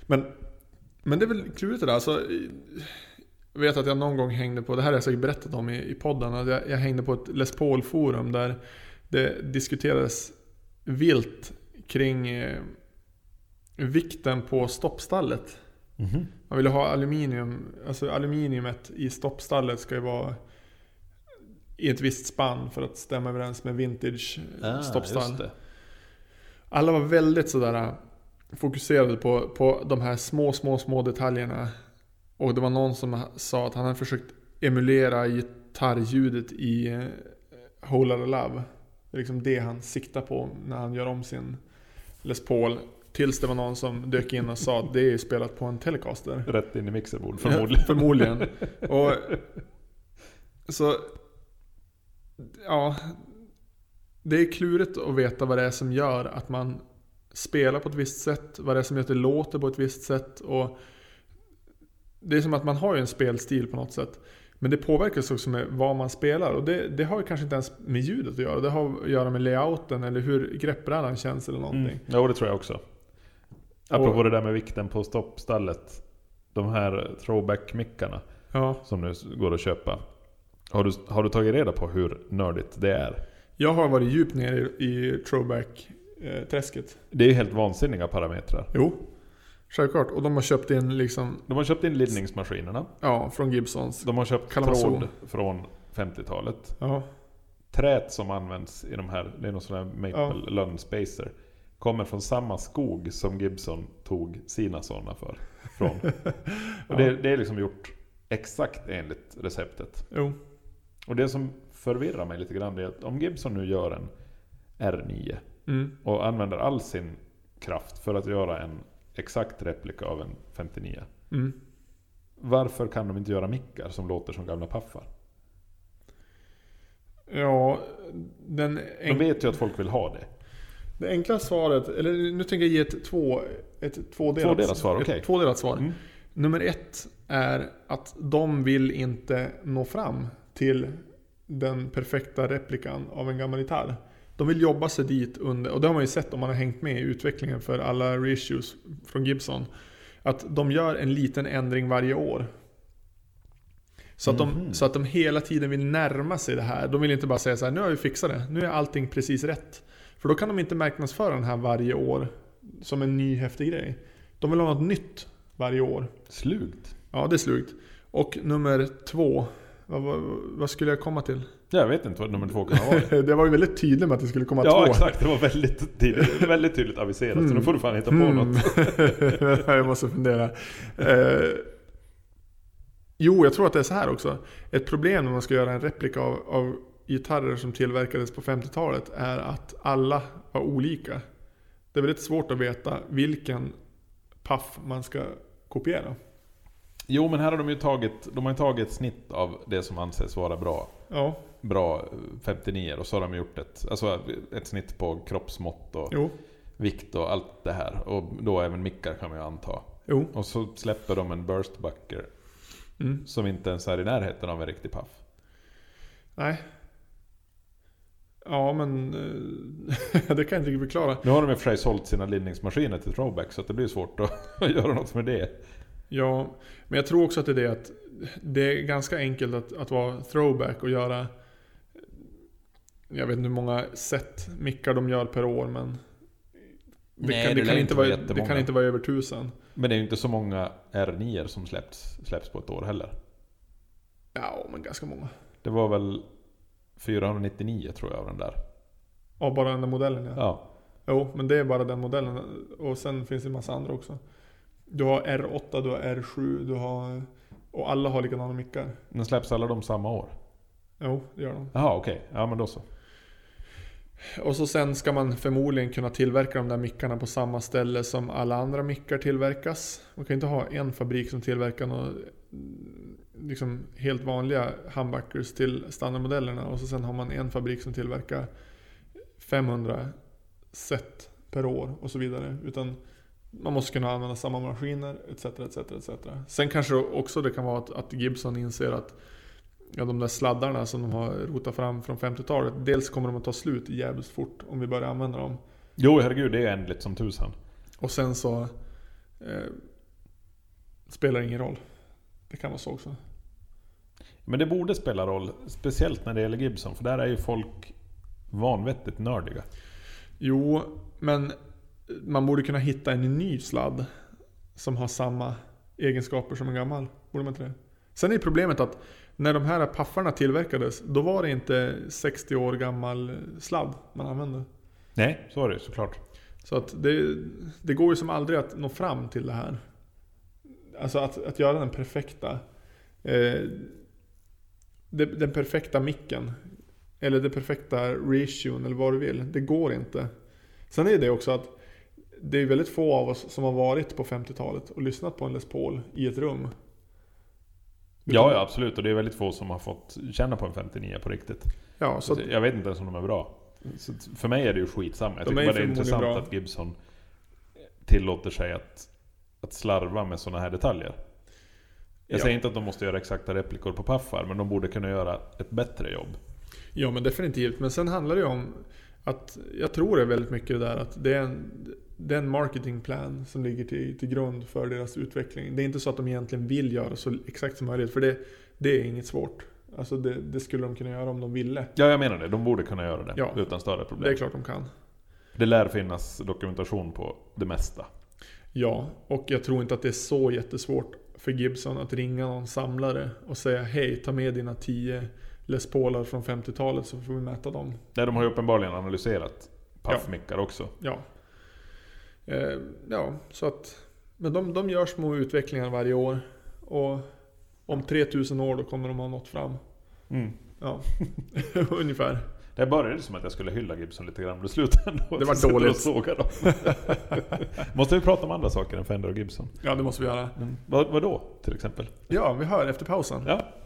Speaker 1: Men, men det är väl klurigt det där. Alltså, jag vet att jag någon gång hängde på, det här har jag säkert berättat om i, i podden, att jag, jag hängde på ett Les Paul-forum där det diskuterades vilt kring eh, vikten på stoppstallet.
Speaker 2: Mhm.
Speaker 1: Man vill ju ha aluminium. Alltså aluminiumet i stoppstallet ska ju vara i ett visst spann för att stämma överens med vintage eh, stoppstall.
Speaker 2: Ah, det.
Speaker 1: Alla var väldigt sådär eh, fokuserade på, på de här små, små, små detaljerna. Och det var någon som ha- sa att han hade försökt emulera gitarrljudet i eh, Whole Lotta Love. Det är liksom det han siktar på när han gör om sin Les Paul. Tills det var någon som dök in och sa att det är ju spelat på en Telecaster.
Speaker 2: Rätt in i mixerbord förmodligen.
Speaker 1: Ja, förmodligen. Och, så, ja, det är klurigt att veta vad det är som gör att man spelar på ett visst sätt, vad det är som gör att det låter på ett visst sätt. Och det är som att man har ju en spelstil på något sätt. Men det påverkas också med vad man spelar och det, det har ju kanske inte ens med ljudet att göra. Det har att göra med layouten eller hur greppbrädan känns eller någonting.
Speaker 2: Mm. Ja, och det tror jag också. Apropå det där med vikten på stoppstallet. De här throwback-mickarna
Speaker 1: Ja.
Speaker 2: som nu går att köpa. Har du, har du tagit reda på hur nördigt det är?
Speaker 1: Jag har varit djupt nere i, i eh, throwback-träsket.
Speaker 2: Det är ju helt vansinniga parametrar.
Speaker 1: Jo, självklart. Och de har köpt in liksom,
Speaker 2: De har köpt in ledningsmaskinerna.
Speaker 1: ja, från Gibsons.
Speaker 2: De har köpt
Speaker 1: Kalamazoo.
Speaker 2: tråd från 50-talet.
Speaker 1: Ja,
Speaker 2: Träet som används i de här, det är någon sån här
Speaker 1: Ja.
Speaker 2: Maple Lund Spacer. Kommer från samma skog som Gibson tog sina sådana för. Från. Och det, det är liksom gjort exakt enligt receptet.
Speaker 1: jo.
Speaker 2: Och det som förvirrar mig lite grann det är att om Gibson nu gör en R9
Speaker 1: Mm.
Speaker 2: och använder all sin kraft för att göra en exakt replika av en 59.
Speaker 1: Mm.
Speaker 2: Varför kan de inte göra mickar som låter som gamla paffar?
Speaker 1: Ja, den
Speaker 2: De
Speaker 1: en...
Speaker 2: vet ju att folk vill ha det.
Speaker 1: det enkla svaret, eller nu tänker jag ge ett, två, ett tvådelat,
Speaker 2: Tvådelat svar,
Speaker 1: ett
Speaker 2: okej.
Speaker 1: tvådelat svar.
Speaker 2: Mm.
Speaker 1: Nummer ett är att de vill inte nå fram till den perfekta replikan av en gammal gitarr. De vill jobba sig dit under, och det har man ju sett om man har hängt med i utvecklingen för alla reissues från Gibson. Att de gör en liten ändring varje år. Så att, de,
Speaker 2: Mhm.
Speaker 1: så att de hela tiden vill närma sig det här. De vill inte bara säga så här, nu har vi fixat det, nu är allting precis rätt. För då kan de inte marknadsföra den här varje år som en ny häftig grej. De vill ha något nytt varje år.
Speaker 2: Slugt.
Speaker 1: Ja, det är slugt. Och nummer två. Vad, vad, vad skulle jag komma till?
Speaker 2: Jag vet inte vad nummer två kan ha varit.
Speaker 1: Det var ju väldigt tydligt med att det skulle komma
Speaker 2: Ja
Speaker 1: två.
Speaker 2: exakt, det var väldigt tydligt, väldigt tydligt aviserat. Så nu får du fan hitta på
Speaker 1: Mm.
Speaker 2: något.
Speaker 1: jag måste fundera. Eh, jo, jag tror att det är så här också. Ett problem när man ska göra en replika av, av gitarrer som tillverkades på 50-talet är att alla var olika. Det är väldigt svårt att veta vilken paff man ska kopiera.
Speaker 2: Jo men här har de ju tagit, de har ju tagit ett snitt av det som anses vara bra.
Speaker 1: Ja,
Speaker 2: Bra 59 och så har de gjort ett, alltså ett snitt på kroppsmått och
Speaker 1: jo,
Speaker 2: vikt och allt det här. Och då även mickar kan man ju anta.
Speaker 1: jo.
Speaker 2: Och så släpper de en burstbucker
Speaker 1: Mm.
Speaker 2: som inte ens är i närheten av en riktig paff.
Speaker 1: Nej. Ja, men eh, det kan jag inte riktigt förklara.
Speaker 2: Nu har de i och för sig sålt sina lindningsmaskiner till Throwback så att det blir svårt att göra något med det.
Speaker 1: Ja, men jag tror också att det är det att det är ganska enkelt att, att vara throwback och göra jag vet inte hur många set mickar de gör per år men det, kan, det,
Speaker 2: lär
Speaker 1: kan, inte vara, det
Speaker 2: jättemånga.
Speaker 1: kan inte vara över tusen.
Speaker 2: Men det är ju inte så många R9 som släpps, släpps på ett år heller.
Speaker 1: Ja, men ganska många.
Speaker 2: Det var väl 499 tror jag av den där.
Speaker 1: Av bara den där modellen ja.
Speaker 2: Ja.
Speaker 1: Jo, men det är bara den modellen. Och sen finns det en massa andra också. Du har R8, du har R7, du har... Och alla har likadana mickar.
Speaker 2: Men släpps alla de samma år?
Speaker 1: Jo, det gör de.
Speaker 2: Jaha, okej. Ja, men då så.
Speaker 1: Och så sen ska man förmodligen kunna tillverka de där mickarna på samma ställe som alla andra mickar tillverkas. Man kan ju inte ha en fabrik som tillverkar några, liksom helt vanliga humbuckers till standardmodellerna och så sen har man en fabrik som tillverkar 500 set per år och så vidare. Utan man måste kunna använda samma maskiner etc. etc, etc. Sen kanske också det kan vara att, att Gibson inser att Ja, de där sladdarna som de har rotat fram från 50-talet. Dels kommer de att ta slut jävligt fort om vi börjar använda dem.
Speaker 2: Jo, herregud, det är ändligt som tusan.
Speaker 1: Och sen så eh, spelar det ingen roll. Det kan vara så också.
Speaker 2: Men det borde spela roll, speciellt när det gäller Gibson, för där är ju folk vanvettigt nördiga.
Speaker 1: Jo, men man borde kunna hitta en ny sladd som har samma egenskaper som en gammal. Borde man inte det? Sen är problemet att när de här paffarna tillverkades, då var det inte 60 år gammal sladd man använde.
Speaker 2: Nej, så är det ju såklart.
Speaker 1: Så att det, det går ju som aldrig att nå fram till det här. Alltså att, att göra den perfekta eh, den, den perfekta micken. Eller den perfekta ratio eller vad du vill. Det går inte. Sen är det också att det är väldigt få av oss som har varit på 50-talet och lyssnat på en Les Paul i ett rum.
Speaker 2: Ja, ja, absolut. Och det är väldigt få som har fått känna på en 59 på riktigt.
Speaker 1: Ja, så att,
Speaker 2: Jag vet inte ens om de är bra. Så att för mig är det ju skitsamma. Jag
Speaker 1: De
Speaker 2: tycker
Speaker 1: är
Speaker 2: bara det är
Speaker 1: förmodligen
Speaker 2: intressant
Speaker 1: bra.
Speaker 2: att Gibson tillåter sig att, att slarva med sådana här detaljer. Jag
Speaker 1: Ja.
Speaker 2: säger inte att de måste göra exakta replikor på paffar, men de borde kunna göra ett bättre jobb.
Speaker 1: Ja men definitivt. Men sen handlar det ju om att jag tror det är väldigt mycket det där att det är en, det är en marketingplan som ligger till, till grund för deras utveckling. Det är inte så att de egentligen vill göra så exakt som möjligt för det, det är inget svårt. Alltså det, det skulle de kunna göra om de ville.
Speaker 2: Ja, jag menar det. De borde kunna göra det
Speaker 1: Ja.
Speaker 2: utan större problem.
Speaker 1: Det är klart de kan.
Speaker 2: Det lär finnas dokumentation på det mesta.
Speaker 1: Ja, och jag tror inte att det är så jättesvårt för Gibson att ringa någon samlare och säga hej, ta med dina 10 Les Paular från 50-talet så får vi mäta dem.
Speaker 2: Nej, de har ju uppenbarligen analyserat paffmickar också.
Speaker 1: Ja. Eh, ja, så att... Men de, de gör små utvecklingar varje år. Och om 3000 år då kommer de ha nått fram. Mm. Ja, ungefär.
Speaker 2: Det här började som att jag skulle hylla Gibson lite grann, men det slutade ändå att
Speaker 1: var
Speaker 2: jag sitter
Speaker 1: dåligt.
Speaker 2: och sågar dem. Måste vi prata om andra saker än Fender och Gibson?
Speaker 1: Ja, det måste vi göra.
Speaker 2: Vad, vadå, till exempel?
Speaker 1: Ja, vi hör efter pausen.
Speaker 2: Ja.